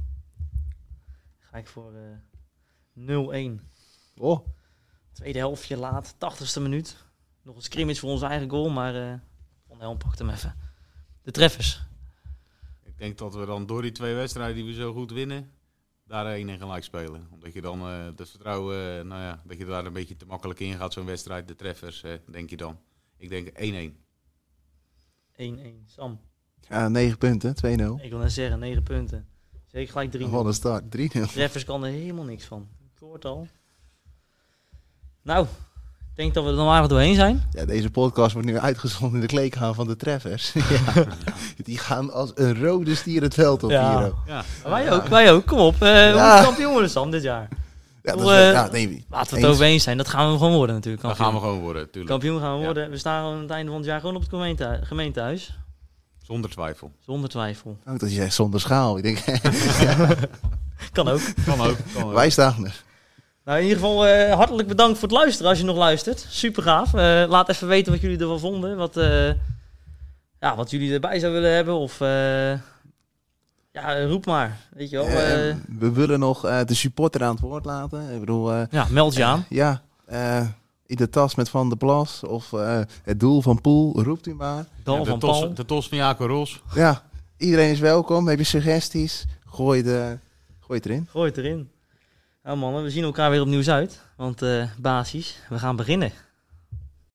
Speaker 1: Ga ik voor eh 0-1.
Speaker 3: Oh.
Speaker 1: Tweede helftje laat, 80ste minuut. Nog een scrimmage voor onze eigen goal, maar eh Van Helm pakt hem even. De treffers.
Speaker 2: Ik denk dat we dan door die twee wedstrijden die we zo goed winnen, daar één en gelijk spelen. Omdat je dan eh dat vertrouwen, eh, nou ja, dat je daar een beetje te makkelijk in gaat, zo'n wedstrijd. De treffers, eh, denk je dan. Ik denk 1-1.
Speaker 1: 1-1. Sam,
Speaker 3: Ja, 9 punten. 2-0.
Speaker 1: ik wil net zeggen, 9 punten. Zeker gelijk 3
Speaker 3: Wat een start. 3-0.
Speaker 1: Treffers kan er helemaal niks van. Ik hoor het al. Nou, ik denk dat we er dan aardig doorheen zijn.
Speaker 3: Ja, deze podcast wordt nu uitgezonden in de kleedkamer van de treffers. ja. Die gaan als een rode stier het veld op
Speaker 1: Ja.
Speaker 3: hier. ook.
Speaker 2: Ja,
Speaker 1: Wij ook, wij ook. Kom op. eh We
Speaker 3: Ja.
Speaker 1: moeten kampioen worden, Sam, dit jaar.
Speaker 3: Ja, dat is,
Speaker 1: Hoe, eh,
Speaker 3: ja, nee,
Speaker 1: Laten we
Speaker 3: eens.
Speaker 1: het over eens zijn. Dat gaan we gewoon worden natuurlijk.
Speaker 2: daar
Speaker 1: Kampioen.
Speaker 2: gaan we gewoon worden, tuurlijk.
Speaker 1: kampioen gaan we
Speaker 2: Ja.
Speaker 1: worden. We staan gewoon aan het einde van het jaar gewoon op het gemeente, gemeentehuis.
Speaker 2: Zonder twijfel.
Speaker 1: Zonder twijfel.
Speaker 3: Ook dat je zegt zonder schaal. Ik denk,
Speaker 1: Kan ook.
Speaker 2: Kan ook. Kan ook.
Speaker 3: wij staan er.
Speaker 1: Nou, in ieder geval eh, hartelijk bedankt voor het luisteren als je nog luistert. Super gaaf. Eh, laat even weten wat jullie ervan vonden. Wat, eh, ja, wat jullie erbij zouden willen hebben. Of eh, ja, roep maar. Weet je wel. eh,
Speaker 3: Eh, we willen nog eh, de supporter aan het woord laten. Ik bedoel, eh,
Speaker 1: ja, meld je aan.
Speaker 3: ja, eh, in de tas met Van der Plas of eh, het doel van Poel, roept u maar.
Speaker 1: Dal
Speaker 2: Ja, de,
Speaker 1: van
Speaker 2: tos,
Speaker 1: Paul.
Speaker 2: de tos van Jaco Ros.
Speaker 3: Ja, iedereen is welkom. Heb je suggesties? Gooi, de, gooi het erin.
Speaker 1: Gooi het erin. Nou mannen, we zien elkaar weer opnieuw uit. Want eh basis, we gaan beginnen.